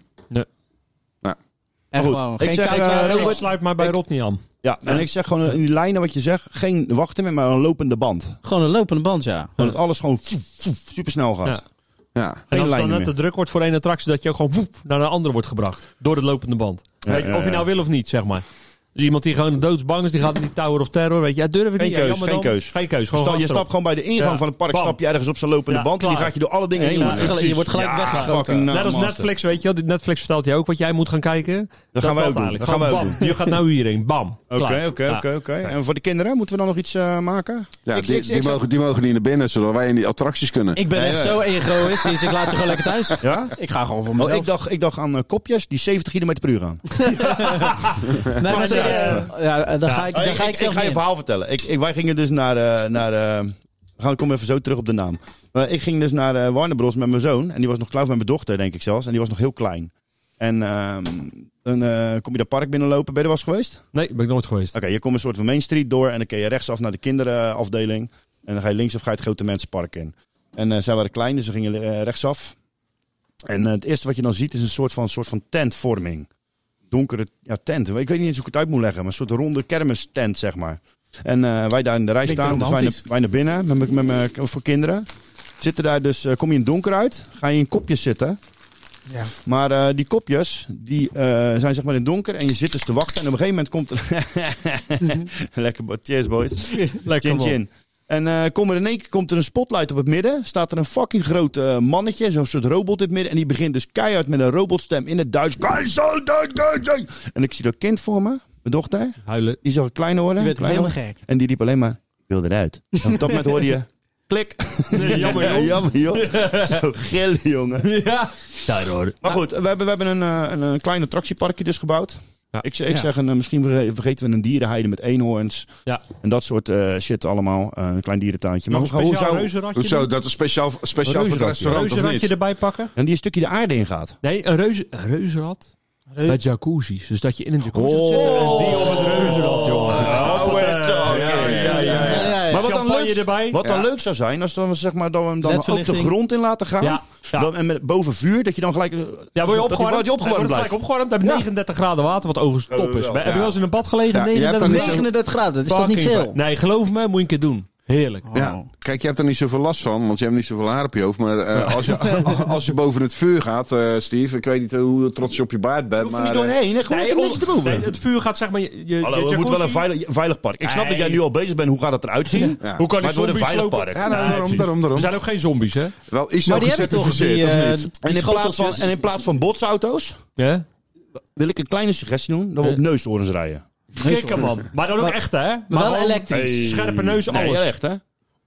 S1: En
S3: Maar goed,
S1: gewoon,
S3: ik
S1: geen
S3: zeg,
S1: kijkwater,
S3: eh,
S1: niks.
S3: Robert,
S7: Sluit maar bij
S3: Ik-
S7: Rodney aan.
S3: Ja, en ik zeg gewoon in die lijnen wat je zegt. Geen wachten meer, maar een lopende band.
S1: Gewoon een lopende band, ja.
S3: Gewoon dat alles gewoon voef, voef, supersnel gaat.
S7: Ja.
S2: Ja.
S7: En
S3: Geen
S7: als het dan
S3: lijnen
S7: net
S3: meer.
S7: te druk wordt voor één attractie, dat je ook gewoon woef, naar de andere wordt gebracht. Door het lopende band. Weet je,
S3: ja,
S7: of je
S3: ja.
S7: nou wil of niet, zeg maar. Dus iemand die gewoon doodsbang is, die gaat in die Tower of Terror. Weet je, ja, durf ik
S3: Geen
S7: niet.
S3: keus,
S7: ja, jammer
S3: geen
S7: dan.
S3: keus.
S7: Geen keus.
S3: Je
S7: Gewoon
S3: stapt- je
S7: gewoon
S3: stapt gewoon bij de ingang
S7: Ja.
S3: van het park,
S7: Bam.
S3: stap je ergens op zo'n lopende
S7: Ja,
S3: band en die
S7: klaar.
S3: gaat je door alle dingen
S1: En je
S3: heen.
S1: wordt
S3: lopen.
S1: gelijk- je wordt gelijk
S3: Ja,
S1: weggeschoten.
S3: fucking
S7: Net als
S3: master.
S7: Netflix, weet je. wel. Netflix vertelt je ook wat jij moet gaan kijken.
S3: Dat gaan we ook doen.
S7: eigenlijk.
S3: Dat gaan we ook
S7: Gewoon
S3: doen.
S7: bam. Je gaat nou hierin. Bam.
S3: Oké,
S7: Klaar.
S3: oké,
S7: Ja.
S3: oké, oké. En voor de kinderen, moeten we dan nog iets eh, maken?
S2: Ja,
S3: Ik-
S2: die,
S3: ik- ik
S2: die,
S3: zeg-
S2: mogen, die mogen niet naar binnen, zodat wij in die attracties kunnen.
S1: Ik ben
S3: Nee,
S1: echt
S3: nee.
S1: zo egoïstisch. Ik laat ze gewoon lekker thuis.
S3: Ja?
S1: Ik ga gewoon voor
S3: Oh,
S1: mezelf.
S3: ik, dacht, ik dacht aan eh, kopjes die 70 km per uur gaan.
S1: nee, maar
S3: Maakt
S1: nee,
S3: niet uit.
S1: eh, ja, dan ga ik,
S3: Oh,
S1: dan ga ik, zelf
S3: ga je
S1: niet
S3: een
S1: in.
S3: verhaal vertellen. Ik, ik, wij gingen dus naar... eh, naar eh, we gaan, ik kom even zo terug op de naam. Maar ik ging dus naar eh Warner Bros. met mijn zoon. En die was nog klauw met mijn dochter, denk ik zelfs. En die was nog heel klein. En ehm, dan eh, kom je dat park binnenlopen. Ben je er wel eens geweest?
S7: Nee, ben ik nooit geweest.
S3: Oké, je komt een soort van Main Street door en dan kun je rechtsaf naar de kinderafdeling. En dan ga je linksaf ga je het grote mensenpark in. En eh, zij waren klein, dus we gingen eh, rechtsaf. En eh, het eerste wat je dan ziet is een soort van, soort van tentvorming. donkere ja, tent. Ik weet niet eens hoe ik het uit moet leggen, maar een soort ronde kermistent, zeg maar. En eh, wij daar in de rij
S1: Klinkt
S3: staan, dus wij naar,
S1: romantisch.
S3: wij naar binnen met, mijn- met, mijn- voor kinderen. Zitten daar dus, eh, kom je in het donker uit, ga je in kopjes zitten.
S5: Ja.
S3: Maar eh, die kopjes, die eh, zijn zeg maar in het donker en je zit dus te wachten. En op een gegeven moment komt er...
S1: Mhm.
S3: Lekker, bo- cheers boys.
S7: Lekker,
S3: chin,
S7: man.
S3: chin. En eh komt er in één keer komt er een spotlight op het midden. Staat er een fucking groot eh, mannetje, zo'n soort robot in het midden. En die begint dus keihard met een robotstem in het Duits. Kein Zoll, Duits, Duits, Duits. En ik zie dat kind voor me, mijn dochter.
S7: Huilen.
S3: Die zag klein worden.
S7: Die werd
S3: klein
S7: helemaal
S3: worden. En die riep alleen maar, wil eruit. En op dat moment hoorde je, klik.
S7: jammer, joh.
S3: jammer joh. Zo gil jongen.
S7: Ja.
S3: Maar goed, we hebben, we hebben een, eh, een, een klein attractieparkje dus gebouwd. Ik, ik
S7: Ja.
S3: zeg, een, eh, misschien verge- vergeten we een dierenheide met eenhoorns.
S7: Ja.
S3: En dat soort eh, shit allemaal. Eh, een klein dierentuintje.
S7: Nog een speciaal
S3: zou-
S7: reuzenradje Hoezo? dan?
S2: Dat is speciaal, speciaal voor het
S3: Reuzenradje.
S2: restaurant of
S7: Reuzenradje
S2: niet?
S7: erbij pakken?
S3: En die een stukje de aarde ingaat.
S7: Nee, een, reuze, een reuzenrad. Met jacuzzi's. Dus dat je in een jacuzzi gaat zitten en die op het reuzenrad, jongen.
S3: Oh, Eh, we're talking.
S7: eh, Ja, ja, ja, ja.
S3: Maar wat dan,
S7: Champagne
S3: leuk,
S7: erbij.
S3: wat dan
S7: Ja.
S3: leuk zou zijn, als dan, zeg maar, dat we hem dan ook de
S7: Ledverlichting.
S3: grond in laten gaan.
S7: Ja, ja.
S3: Dan, en met, boven vuur, dat je dan gelijk... eh,
S7: Ja, word je opgewarmd?
S3: Dat je opgewarmd
S7: Wordt
S3: blijft.
S7: gelijk opgewarmd. Heb je 39 graden water, wat overigens top is.
S3: wel,
S7: Heb je
S3: ja.
S7: wel eens in een bad gelegen?
S2: Ja, je hebt
S7: 39,
S2: dan niet zo-
S1: 39 graden, dat is toch niet
S7: Fucking
S1: veel?
S7: fijn. Nee, geloof me, moet je een keer doen. Heerlijk.
S2: Ja. Kijk, je hebt er niet zoveel last van, want je hebt niet zoveel haar op je hoofd. Maar eh, als, je, als je boven het vuur gaat, eh, Steve, ik weet niet hoe trots je op je baard bent.
S3: hoeft er
S2: maar,
S3: niet
S2: eh,
S3: doorheen, hè? gewoon
S7: Nee,
S3: lekker niks
S7: om-
S3: erover.
S7: nee, het vuur gaat zeg maar... Je, je,
S3: Hallo,
S7: je
S3: het moet wel een
S7: jacuzzi-
S3: veilig, veilig park. Ik snap dat jij
S7: Nee.
S3: nu al bezig bent, hoe gaat dat eruit zien?
S2: eh, Ja.
S3: maar
S7: Hoe kan die
S3: het wordt een
S7: zombies
S3: veilig
S7: lopen?
S3: park.
S2: Ja, nou, daarom,
S7: precies.
S2: daarom, daarom.
S7: We zijn ook geen zombies, hè?
S2: Wel is
S1: Maar die
S2: nou
S1: hebben toch
S2: gecertificeerd,
S1: die, eh,
S2: of niet?
S3: En in, plaats van,
S1: schoteltjes.
S3: en in plaats van botsauto's
S7: Ja?
S3: wil ik een kleine suggestie doen. Dat we
S7: Eh.
S3: op neushoorns rijden.
S7: Kikker, man. Maar dan ook echt, hè? Maar
S1: wel
S7: gewoon
S1: elektrisch.
S7: Scherpe neus,
S3: Nee,
S7: alles.
S3: ja, echt hè?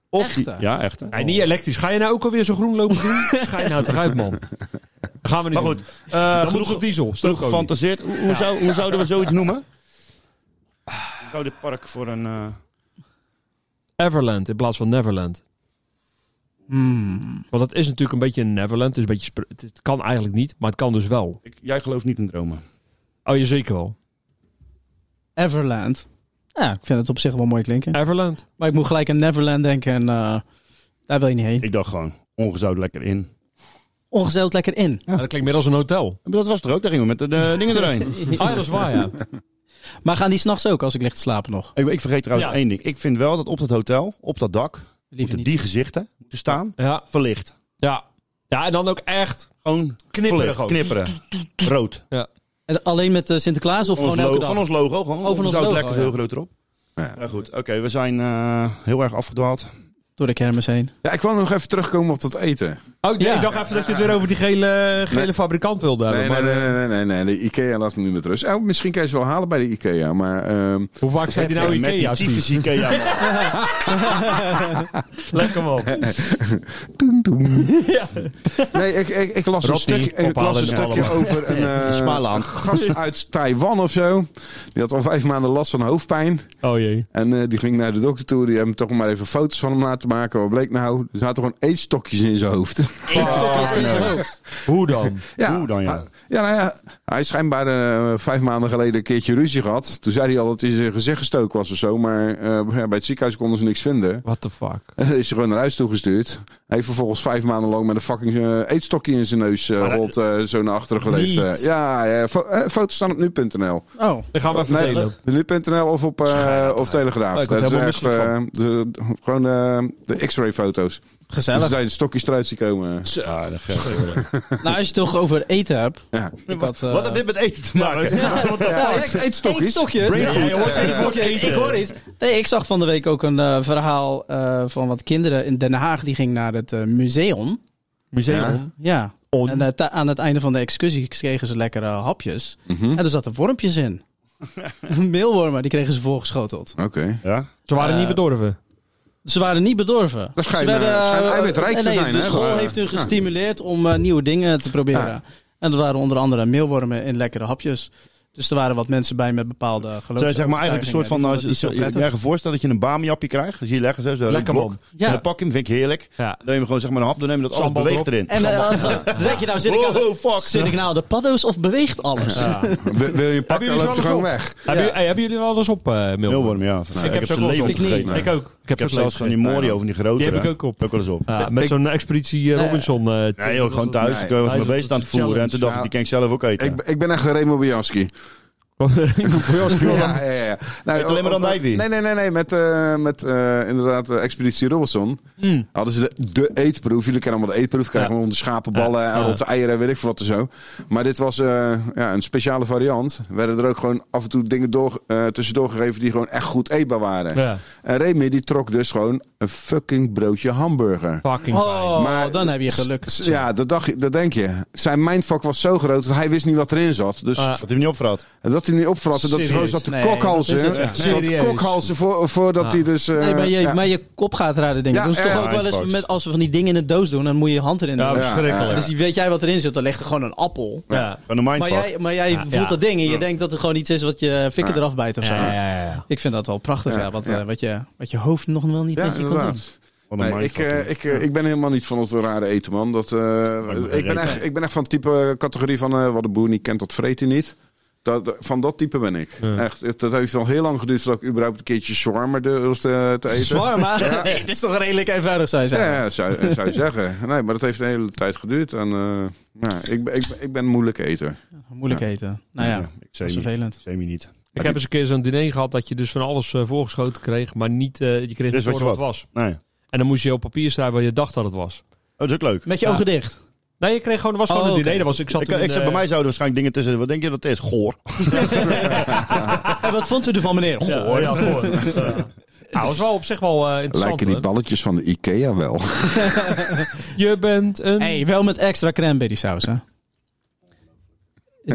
S3: Of die- ja, echt hè?
S7: Nee, niet elektrisch. Ga je nou ook alweer zo groen lopen doen? Ga je nou eruit, man. Dat gaan we niet
S3: Maar goed,
S7: doen.
S3: eh,
S7: Dan
S3: genoeg,
S7: genoeg op diesel.
S3: genoeg
S7: Stokolie.
S3: gefantaseerd. Hoe, hoe
S7: Ja.
S3: zou, hoe zouden we zoiets noemen? Ik hou dit Ah, park voor een... eh,
S7: Everland in plaats van Neverland. Want dat is natuurlijk een beetje een Neverland. Dus een beetje spr- het, het kan eigenlijk niet, maar het kan dus wel.
S3: ik- jij gelooft niet in dromen.
S7: Oh, je zeker wel.
S1: Everland. Ja, ik vind het op zich wel mooi klinken.
S7: Everland.
S1: Maar ik moet gelijk aan Neverland denken en eh, daar wil je niet heen.
S3: Ik dacht gewoon, ongezout lekker in.
S1: Ongezeld lekker in.
S7: Ja, Ah, dat klinkt meer als een hotel.
S3: Maar Dat was er ook, daar gingen we met de, de dingen erheen.
S7: Ah, ja, dat is waar, ja.
S1: Maar gaan die s'nachts ook als ik lig te slapen nog?
S3: ik, ik vergeet trouwens
S7: Ja.
S3: één ding. Ik vind wel dat op dat hotel, op dat dak, moeten
S1: niet.
S3: die gezichten moeten staan.
S7: Ja,
S3: Verlicht.
S7: ja. ja en dan ook echt
S3: Gewoon verlicht,
S7: knipperen gewoon.
S3: knipperen. Rood.
S7: Ja.
S1: En alleen met eh, Sinterklaas of
S3: Van ons,
S1: gewoon elke
S3: logo,
S1: dag?
S3: van ons logo gewoon.
S1: Oh, van ons
S3: Zout
S1: logo,
S3: lekker
S1: ja.
S3: heel groot erop. Ja, goed. Oké, we zijn eh, heel erg afgedwaald.
S1: Door de kermis heen.
S2: Ja, ik wil nog even terugkomen op dat eten.
S7: Oh, nee,
S1: Ja.
S7: ik dacht even dat je het weer over die gele, gele
S2: Nee.
S7: fabrikant wilde hebben.
S2: Nee, nee,
S7: maar,
S2: nee,
S7: eh,
S2: nee, nee, nee, nee, De Ikea laat me nu met rust. Oh, misschien kan je ze wel halen bij de Ikea, maar... ehm,
S7: Hoe vaak zei die nou
S3: met
S7: Ikea?
S3: die tyfus
S7: Steve?
S3: Ikea. man.
S7: Lekker man.
S2: Doem, doem. Nee, ik, ik, ik las een,
S7: Rodney,
S2: stuk, ik las
S7: ophalen
S2: een
S7: met
S2: stukje
S7: allemaal.
S2: over een eh,
S3: Smaland.
S2: gast uit Taiwan of zo. Die had al vijf maanden last van hoofdpijn.
S7: Oh jee.
S2: En eh, die ging naar de dokter toe. Die hebben toch maar even foto's van hem laten maken. Wat bleek nou? Er zaten gewoon eetstokjes in zijn hoofd.
S1: Eetstokjes in zijn hoofd.
S7: Hoe dan?
S3: Hoe dan, ja?
S2: Ja, nou ja. Hij heeft schijnbaar eh, vijf maanden geleden een keertje ruzie gehad. Toen zei hij al dat hij zijn gezicht gestoken was of zo. Maar eh, ja, bij het ziekenhuis konden ze niks vinden.
S7: What the fuck?
S2: Is hij gewoon naar huis toegestuurd. Hij heeft vervolgens vijf maanden lang met een fucking eh, eetstokje in zijn neus eh
S7: Maar dat-
S2: rolt, eh, zo naar achteren geleefd.
S7: Niet.
S2: eh. ja, ja, fo- eh, foto's staan op nu.nl.
S1: Oh.
S7: Dan gaan we even
S2: Nee,
S7: delen.
S2: nu.nl of op, eh of Telegraaf.
S7: Oh, ik word
S2: dat is
S7: helemaal
S2: echt eh,
S7: misselijk
S2: de, gewoon eh, de x-ray foto's. Dus
S1: Gezellig.
S2: dat je de stokjes eruit ziet komen.
S3: Ja, dat geldt.
S1: Nou, als je het toch over eten hebt.
S2: Ja.
S1: Ik had, eh,
S3: Wat heeft dit met eten te maken?
S1: Ja, ik-
S2: eetstokjes.
S1: Eetstokjes.
S2: Brainfood.
S1: Ja, je hoort eetstokjes. Ik hoor eens. Nee, ik zag van de week ook een eh, verhaal eh, van wat kinderen in Den Haag. Die gingen naar het eh, museum.
S7: Museum.
S1: Ja.
S7: On.
S1: En eh, ta- aan het einde van de excursie kregen ze lekkere hapjes.
S2: Mhm.
S1: En er zaten wormpjes in. Meelwormen, die kregen ze voorgeschoteld.
S2: Oké.
S3: Ja?
S7: Ze waren
S1: Eh,
S7: niet bedorven.
S1: Ze waren niet bedorven.
S2: Dat schijnt,
S1: Ze werden,
S2: eh, schijnt
S1: eh,
S2: eiwitrijk te
S1: nee,
S2: zijn,
S1: De
S2: hè?
S1: school
S2: Ja.
S1: heeft hun gestimuleerd om eh, nieuwe dingen te proberen.
S2: Ja.
S1: En dat waren onder andere meelwormen in lekkere hapjes. Dus er waren wat mensen bij met bepaalde geloofs.
S3: Zij zeg maar eigenlijk een soort van... eh,
S1: overtuigingen.
S3: Als,
S1: Die vonden het
S3: je
S1: niet zo prettig.
S3: je voorstelt dat je een bamiapje krijgt. Dus hier leggen ze zo
S7: Lekker,
S3: lekker blok.
S7: man.
S1: Ja.
S3: En dan pak je hem, vind ik heerlijk.
S7: Ja.
S3: Dan neem je gewoon zeg maar een hap, dan neem je dat alles
S7: Sambal
S3: beweegt
S7: erop.
S3: erin.
S1: En eh, dan denk je nou, zit ik, aan de-
S3: Oh, fuck.
S1: zit ik nou aan de paddo's of beweegt alles?
S2: Wil, wil je een pak,
S7: Hebben
S2: dan
S7: jullie
S2: loopt hij
S7: ze
S2: gewoon
S7: wel
S2: weg.
S7: Hebben, jullie- hey, hebben jullie wel eens op, eh Milburn?
S3: Meelworm, ja.
S7: Ik, heb
S3: ze
S7: ze
S3: levend
S7: levend
S3: gegeten.
S7: Ik ook. Ik heb
S3: Ik heb
S7: ze
S3: zelfs van die Morio, van die grote.
S7: Die heb
S3: hè?
S7: ik ook op.
S3: wel eens op.
S7: Ja, Ah, met zo'n expeditie eh, Robinson. eh,
S3: Nee joh, gewoon thuis.
S2: Nee.
S3: Ik was
S7: Hij
S3: me
S7: is-
S3: bezig aan het
S7: challenge.
S3: voeren en toen dacht ik, die kan ik zelf ook eten.
S2: Ik, ik ben echt een Remo Bianski. ja, ja, ja.
S18: Met alleen maar dan
S2: oh, oh,
S18: Ivy.
S2: Nee, nee, nee, nee. Met, eh, met eh, inderdaad eh, Expeditie Robinson.
S18: Mm.
S2: Hadden ze de, de eetproef. Jullie kennen allemaal de eetproef krijgen.
S18: Ja.
S2: Onder schapenballen
S18: Ja,
S2: en
S18: ja.
S2: rotte eieren en weet ik veel wat en zo. Maar dit was eh, ja, een speciale variant. Werden er ook gewoon af en toe dingen door, eh, tussendoor gegeven die gewoon echt goed eetbaar waren.
S7: Ja.
S2: En Remy die trok dus gewoon een fucking broodje hamburger.
S7: Fucking
S1: Oh, dan heb je geluk.
S2: S- Ja, dat, dacht, dat denk je. Zijn mindfuck was zo groot dat hij wist niet wat erin zat. Dus
S18: Dat hij hem niet opvrat.
S2: Dat hij niet opvrat. en Dat hij gewoon
S18: Serieus?
S2: zat te
S18: Nee,
S2: kokhalzen.
S18: dat is het.
S2: Zat te
S18: Serieus.
S2: kokhalzen voor, voordat
S1: Ja.
S2: hij dus... eh,
S1: nee, maar je,
S2: ja.
S1: maar je kop gaat raden, denk ik.
S2: Ja,
S1: dat is toch
S2: ja,
S1: ook wel eens
S2: mindfucks.
S1: met als we van die dingen in de doos doen, dan moet je je hand erin
S2: Ja,
S1: doen.
S2: verschrikkelijk.
S1: Dus die- weet jij wat erin zit, dan ligt er gewoon een appel.
S7: Ja.
S3: Van een
S1: Maar jij, maar jij voelt dat ding en je denkt dat het gewoon iets is wat je fikken
S2: Ja.
S1: eraf bijt of zo.
S2: Ja, ja,
S1: Ik vind dat wel prachtig, ja,
S2: Ja,
S1: wat,
S2: ja.
S1: eh, wat, je, wat je hoofd nog wel niet
S2: Ja,
S1: met je kan doen.
S2: inderdaad. Nee, ik, eh, ik, eh, ik ben helemaal niet van het rare eten, man. Dat, eh, ik, ben
S1: reet
S2: echt,
S1: uit.
S2: ik ben echt van het type categorie van eh, wat de boer niet kent, dat vreet hij niet. Dat, dat- van dat type ben ik. Echt, het- dat heeft al heel lang geduurd voordat ik überhaupt een keertje shawarma durfde te eten.
S1: Zwaar, maar
S2: Ja.
S1: het is toch redelijk eenvoudig, zou je zeggen.
S2: Ja, zou, zou je zeggen. Nee, maar dat heeft een hele tijd geduurd. En, eh, nou, ik, ben- ik, ben- ik ben een moeilijk eter.
S1: Moeilijk eten.
S3: Ah,
S1: Nou ja,
S2: Ja,
S1: dat
S3: zei
S1: is
S3: niet.
S1: vervelend.
S3: Semi niet.
S7: Ik heb eens een keer zo'n diner gehad dat je dus van alles eh, voorgeschoten kreeg, maar niet, eh, je kreeg
S3: Wist wat
S7: niet door
S3: Dus je
S7: wat het
S3: wat.
S7: was.
S3: Nee.
S7: En dan moest je op papier schrijven wat je dacht dat het was.
S3: Oh, dat is ook leuk.
S1: Met je ogen dicht.
S7: Nee, je kreeg gewoon, het was gewoon
S3: Oh,
S7: een
S3: oké.
S7: diner. Dat was, ik zat
S3: ik,
S7: toen,
S3: ik zat, bij
S7: eh,
S3: mij zouden waarschijnlijk dingen tussen. Wat denk je dat het is? Goor.
S1: En wat vond u ervan, meneer? Goh,
S7: ja, goor. Nou, dat was wel op zich wel eh, interessant.
S2: Lijken die
S7: hoor.
S2: balletjes van de Ikea wel.
S7: Je bent een...
S1: hey, wel met extra cranberry saus, hè?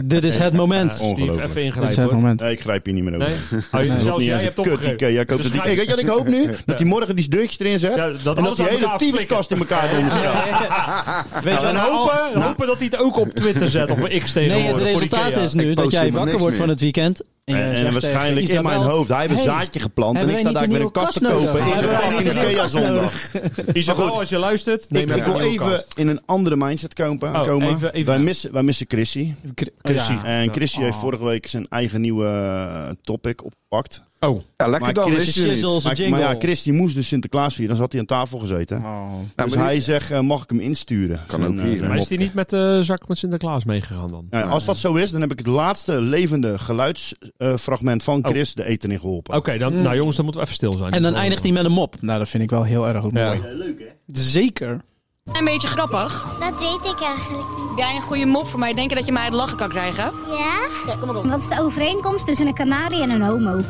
S1: Dit is het moment.
S3: Ongelooflijk.
S1: Dit is het moment.
S3: Nee, ik grijp hier niet meer over.
S1: Nee?
S3: Nee.
S1: Oh, je- zelfs jij hebt
S3: Kut,
S1: opgegeven.
S3: Ikea. Koopt
S1: Dus
S3: het
S1: ga
S3: Ikea.
S1: je-
S3: Weet je wat ik hoop nu?
S1: Ja.
S3: Dat die morgen die deurtjes erin zet.
S7: Ja, dat
S3: en dat
S7: alles
S3: die
S7: aan
S3: hele
S7: elkaar
S3: tyfuskast in elkaar
S7: Ja,
S3: doen.
S7: ja, Weet
S3: Nou,
S7: je, en hopen, hopen dat hij het ook op Twitter zet of X
S1: Nee,
S7: tegenwoordig.
S1: het
S7: voor
S1: resultaat
S7: Ikea.
S1: is nu dat jij wakker wordt van het weekend. En, je
S3: En,
S1: zegt
S3: en waarschijnlijk
S1: tegen
S3: in mijn
S1: Isabel,
S3: hoofd. Hij heeft een
S1: hey,
S3: zaadje geplant. En
S1: hebben
S3: ik sta
S1: wij
S3: daar
S1: niet
S3: met een
S1: nieuwe
S3: kast te
S1: kast nodig?
S3: kopen in
S1: Hebben
S3: de
S1: wij niet
S3: fucking
S1: een nieuwe
S3: Ikea
S1: kast nodig?
S3: zondag.
S7: Isabel, als je luistert,
S3: Ik,
S7: neem
S3: ik wil even in een andere mindset komen.
S7: Oh,
S3: komen.
S7: even- even-
S3: Wij, missen, wij missen Chrissy.
S7: Chrissy. ja.
S3: En Chrissy
S7: Oh.
S3: heeft vorige week zijn eigen nieuwe eh, topic opgepakt.
S7: Oh.
S2: Ja, lekker dan, wist je niet.
S3: maar, maar ja, Christy moest dus Sinterklaas vieren. Dan zat hij aan tafel gezeten.
S7: Oh.
S2: maar
S3: Dus
S2: die-
S3: hij zegt, eh, mag ik hem insturen? Zijn, eh, zijn
S7: Maar is
S3: mop.
S7: hij niet met de zak met Sinterklaas meegegaan dan?
S3: Nou ja, als dat zo is, dan heb ik het laatste levende geluidsfragment
S7: Oh.
S3: van Chris de eten in geholpen.
S7: Oké, dan, nou jongens, dan moeten we even stil zijn.
S1: En dan eindigt hij met een mop. Nou, dat vind ik wel heel erg mooi.
S19: Leuk, hè?
S1: Zeker.
S19: Een beetje grappig.
S20: Dat weet ik eigenlijk niet.
S19: Heb jij een goede mop voor mij? Denk je dat je mij het lachen kan krijgen?
S20: Ja? Wat is de overeenkomst tussen een kanarie en een homo?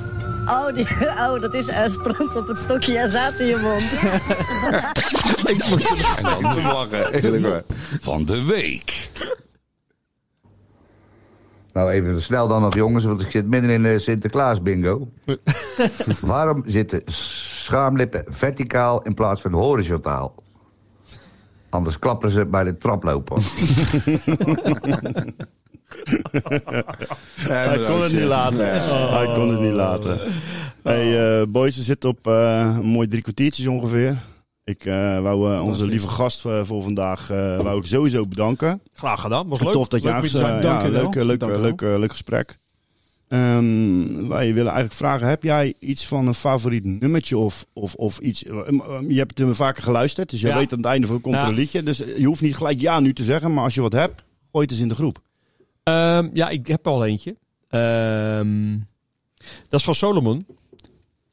S21: Oh, die, oh dat is eh, stront op het stokje en zaad in je mond.
S2: Ik moet er steeds om lachen, eerlijk waar.
S22: Van de week.
S23: Nou, even snel dan nog, jongens, want ik zit midden in de Sinterklaas bingo. Waarom zitten schaamlippen verticaal in plaats van horizontaal? Anders klappen ze bij de traploper.
S3: Hij kon het niet laten. Hij kon het niet laten. Hey eh, boys, we zitten op eh, een mooi drie kwartiertjes ongeveer. Ik eh, wou eh, onze lieve gast eh, voor vandaag eh, wou ik sowieso bedanken.
S7: Graag gedaan, was leuk.
S3: Tof dat je
S7: Leuk om hier te
S3: aangesloten
S7: zijn.
S3: ja,
S7: Dank je wel.
S3: leuk, eh, leuk,
S7: Dank
S3: eh,
S7: je
S3: leuk, eh, leuk gesprek. Ehm, wij willen eigenlijk vragen, heb jij iets van een favoriet nummertje of, of, of iets? eh, eh, Je hebt hem vaker geluisterd, dus je
S7: Ja.
S3: weet aan het einde van komt er
S7: Ja.
S3: een liedje. Dus je hoeft niet gelijk ja nu te zeggen, maar als je wat hebt, gooi het eens in de groep. eh.
S7: Ehm, ja, ik heb al eentje. Ehm, dat is van Solomon.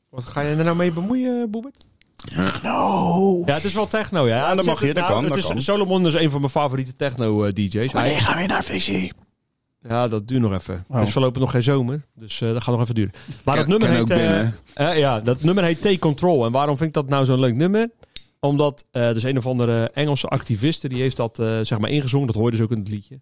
S7: Wat ga je er nou mee bemoeien, Boebert?
S3: Techno!
S7: Ja, het is wel techno, ja.
S3: dat
S7: Het
S3: mag
S7: zit-
S3: je, dat
S7: nou,
S3: kan,
S7: het
S3: dat
S7: is-
S3: kan.
S7: Solomon is een van mijn favoriete eh, techno-dj's.
S3: Wanneer gaan we naar visie?
S7: Ja, dat duurt nog even.
S3: Oh.
S7: Het is voorlopig nog geen zomer, dus eh, dat gaat nog even duren. Maar
S2: Ken-
S7: dat nummer,
S2: ken ook
S7: heet, eh,
S2: binnen,
S7: eh, ja, dat nummer heet T-Control. En waarom vind ik dat nou zo'n leuk nummer? Omdat eh dus een of andere Engelse activiste die heeft dat eh, zeg maar ingezongen. Dat hoorde ze ook in het liedje.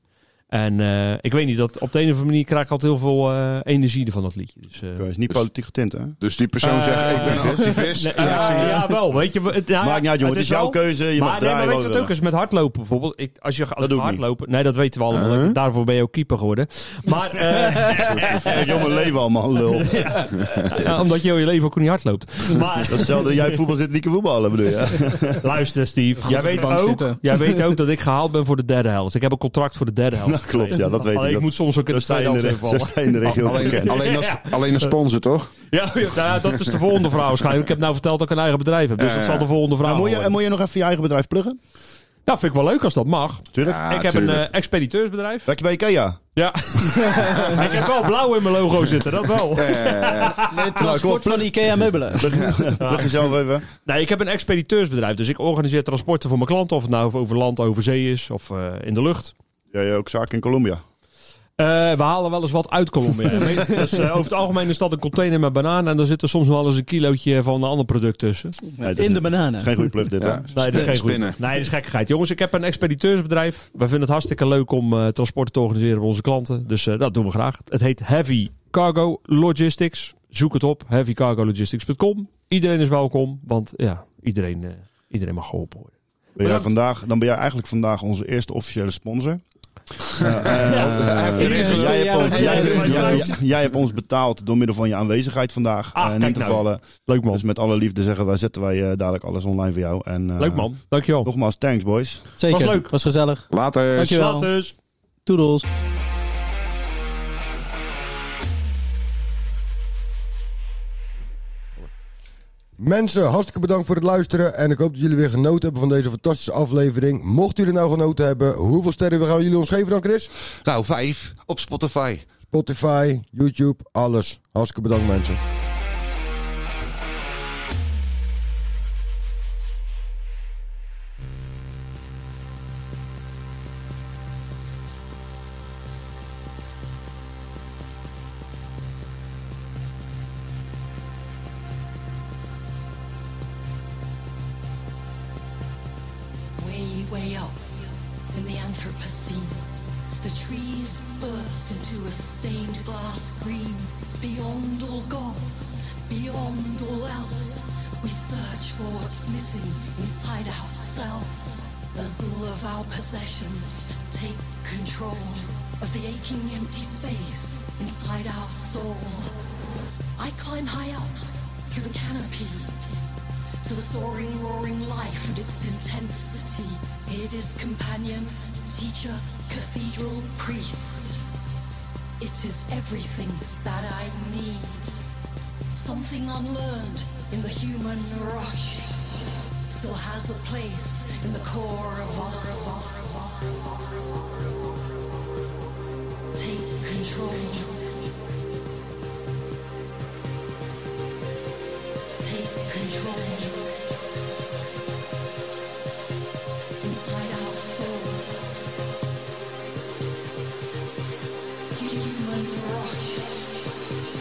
S7: En eh, ik weet niet, dat op de een of andere manier krijg ik altijd heel veel eh, energie ervan dat liedje. Dus, eh,
S3: is niet politiek getint, hè?
S2: Dus die persoon zegt, ik ben een activist.
S7: Nee,
S2: en ik
S7: ja,
S2: zing-
S7: ja, wel. Weet je, het, Ah, nou ja,
S3: Maakt niet uit, jongen, het is jouw
S7: wel-
S3: keuze, je
S7: maar,
S3: mag
S7: nee,
S3: draaien
S7: maar
S3: wat
S7: weet je
S3: we
S7: wat het ook
S3: willen.
S7: is met hardlopen bijvoorbeeld? Ik, als je gaat
S3: doe ik niet.
S7: hardlopen... Nee, dat weten we allemaal.
S3: Uh-huh.
S7: Daarvoor ben je ook keeper geworden. Maar... eh,
S3: Jongen, leef al, man, lul.
S7: Ja, omdat je heel je leven ook niet hard loopt. Maar...
S3: Dat is hetzelfde, dat jij op voetbal zit, niet kan voetballen, bedoel je?
S7: Luister, Steve.
S3: Goed
S7: Jij
S3: op de
S7: weet,
S3: bank
S7: ook,
S3: zitten.
S7: jij weet ook dat ik gehaald ben voor de derde helft. Ik heb een contract voor de derde helft.
S3: Nou, klopt, ja, dat weet
S7: Alleen
S3: ik.
S7: ik
S3: Dat-
S7: moet soms ook in
S3: zo
S7: de
S3: sta je
S7: tweede helft
S3: in de-
S7: invallen.
S3: zo sta je in de regio
S7: Al-
S2: alleen, alleen, als, alleen een sponsor, toch?
S7: Ja, ja, nou ja, dat is de volgende vraag waarschijnlijk. Ik heb nou verteld dat ik een eigen bedrijf heb. Dus
S2: Ja,
S7: dat
S2: ja.
S7: zal de volgende vraag
S3: Maar moet je,
S7: worden.
S3: moet je nog even je eigen bedrijf pluggen?
S7: Nou, vind ik wel leuk als dat mag.
S3: Tuurlijk.
S2: Ah,
S7: ik heb een eh, expediteursbedrijf.
S3: Werk je bij Ikea?
S7: Ja. ik heb wel blauw in mijn logo zitten, dat wel.
S2: Eh,
S1: Transport van Ikea meubelen.
S3: Plug jezelf even.
S7: Nee, ik heb een expediteursbedrijf. Dus ik organiseer transporten voor mijn klanten. Of het nou over land, over zee is of eh, in de lucht.
S3: Ja, ja, ook zaken in Colombia.
S7: Eh, we halen wel eens wat uit Colombia. dus eh, over het algemeen is dat een container met bananen. En daar zit er soms wel eens een kilootje van een ander product tussen.
S3: Nee, dit is
S1: In de
S3: een- Het
S1: bananen.
S3: is geen goede plug dit, hè?
S2: Ja.
S7: Nee, dat is geen goed.
S2: Spinnen.
S7: Nee, dat is gekkigheid. Jongens, ik heb een expediteursbedrijf. We vinden het hartstikke leuk om eh transport te organiseren voor onze klanten. Dus eh, dat doen we graag. Het heet Heavy Cargo Logistics. Zoek het op, heavycargologistics.com. Iedereen is welkom, want ja, iedereen, eh, iedereen mag geholpen worden.
S3: Ben jij
S7: Bedankt.
S3: vandaag, dan ben jij eigenlijk vandaag onze eerste officiële sponsor. Eh, eh,
S7: er is een-
S3: jij
S7: ja,
S3: hebt ons-
S7: ja,
S3: jij-
S7: ja,
S3: jij-
S7: ja.
S3: Jij hebt ons betaald door middel van je aanwezigheid vandaag.
S7: Ah,
S3: Eh, in
S7: kijk
S3: ieder
S7: nou.
S3: geval. eh,
S7: Leuk man.
S3: Dus met alle liefde zeggen wij, zetten wij eh, dadelijk alles online voor jou. En, eh,
S7: Leuk man, dankjewel.
S3: Nogmaals, thanks boys.
S1: Zeker.
S7: Was leuk.
S1: Was gezellig.
S2: Later.
S1: Dankjewel.
S7: Laters.
S1: Toedels.
S4: Mensen, hartstikke bedankt voor het luisteren. En ik hoop dat jullie weer genoten hebben van deze fantastische aflevering. Mocht u er nou genoten hebben, hoeveel sterren gaan jullie ons geven dan, Chris?
S15: Nou, vijf op Spotify.
S4: Spotify, YouTube, alles. Hartstikke bedankt, mensen.
S12: Way, way up in the Anthropocene, the trees burst into a stained glass green. Beyond all gods, beyond all else, we search for what's missing inside ourselves. As all of our possessions take control of the aching empty space inside our soul. I climb high up through the canopy to the soaring, roaring life and its intensity. It is companion, teacher, cathedral, priest. It is everything that I need. Something unlearned in the human rush still has a place in the core of us. Take control. Take control inside our soul. Human rush.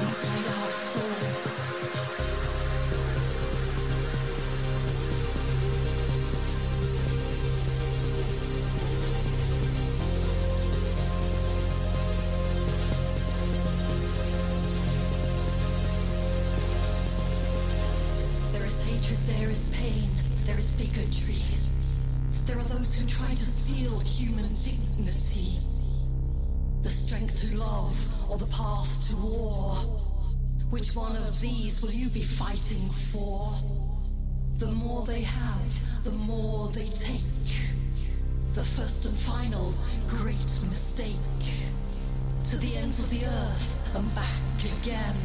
S12: Inside our soul. There is hatred, there is pain, there is bigotry. There are those who try to steal human dignity. The strength to love or the path to war. Which one of these will you be fighting for? The more they have, the more they take. The first and final great mistake. To the ends of the earth and back again.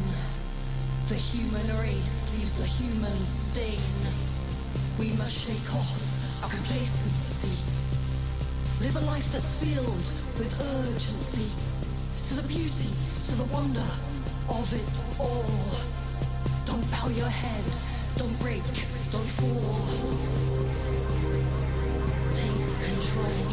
S12: The human race leaves a human stain. We must shake off our complacency. Live a life that's filled with urgency to the beauty, to the wonder of it all. Don't bow your head, don't break, don't fall. Take control.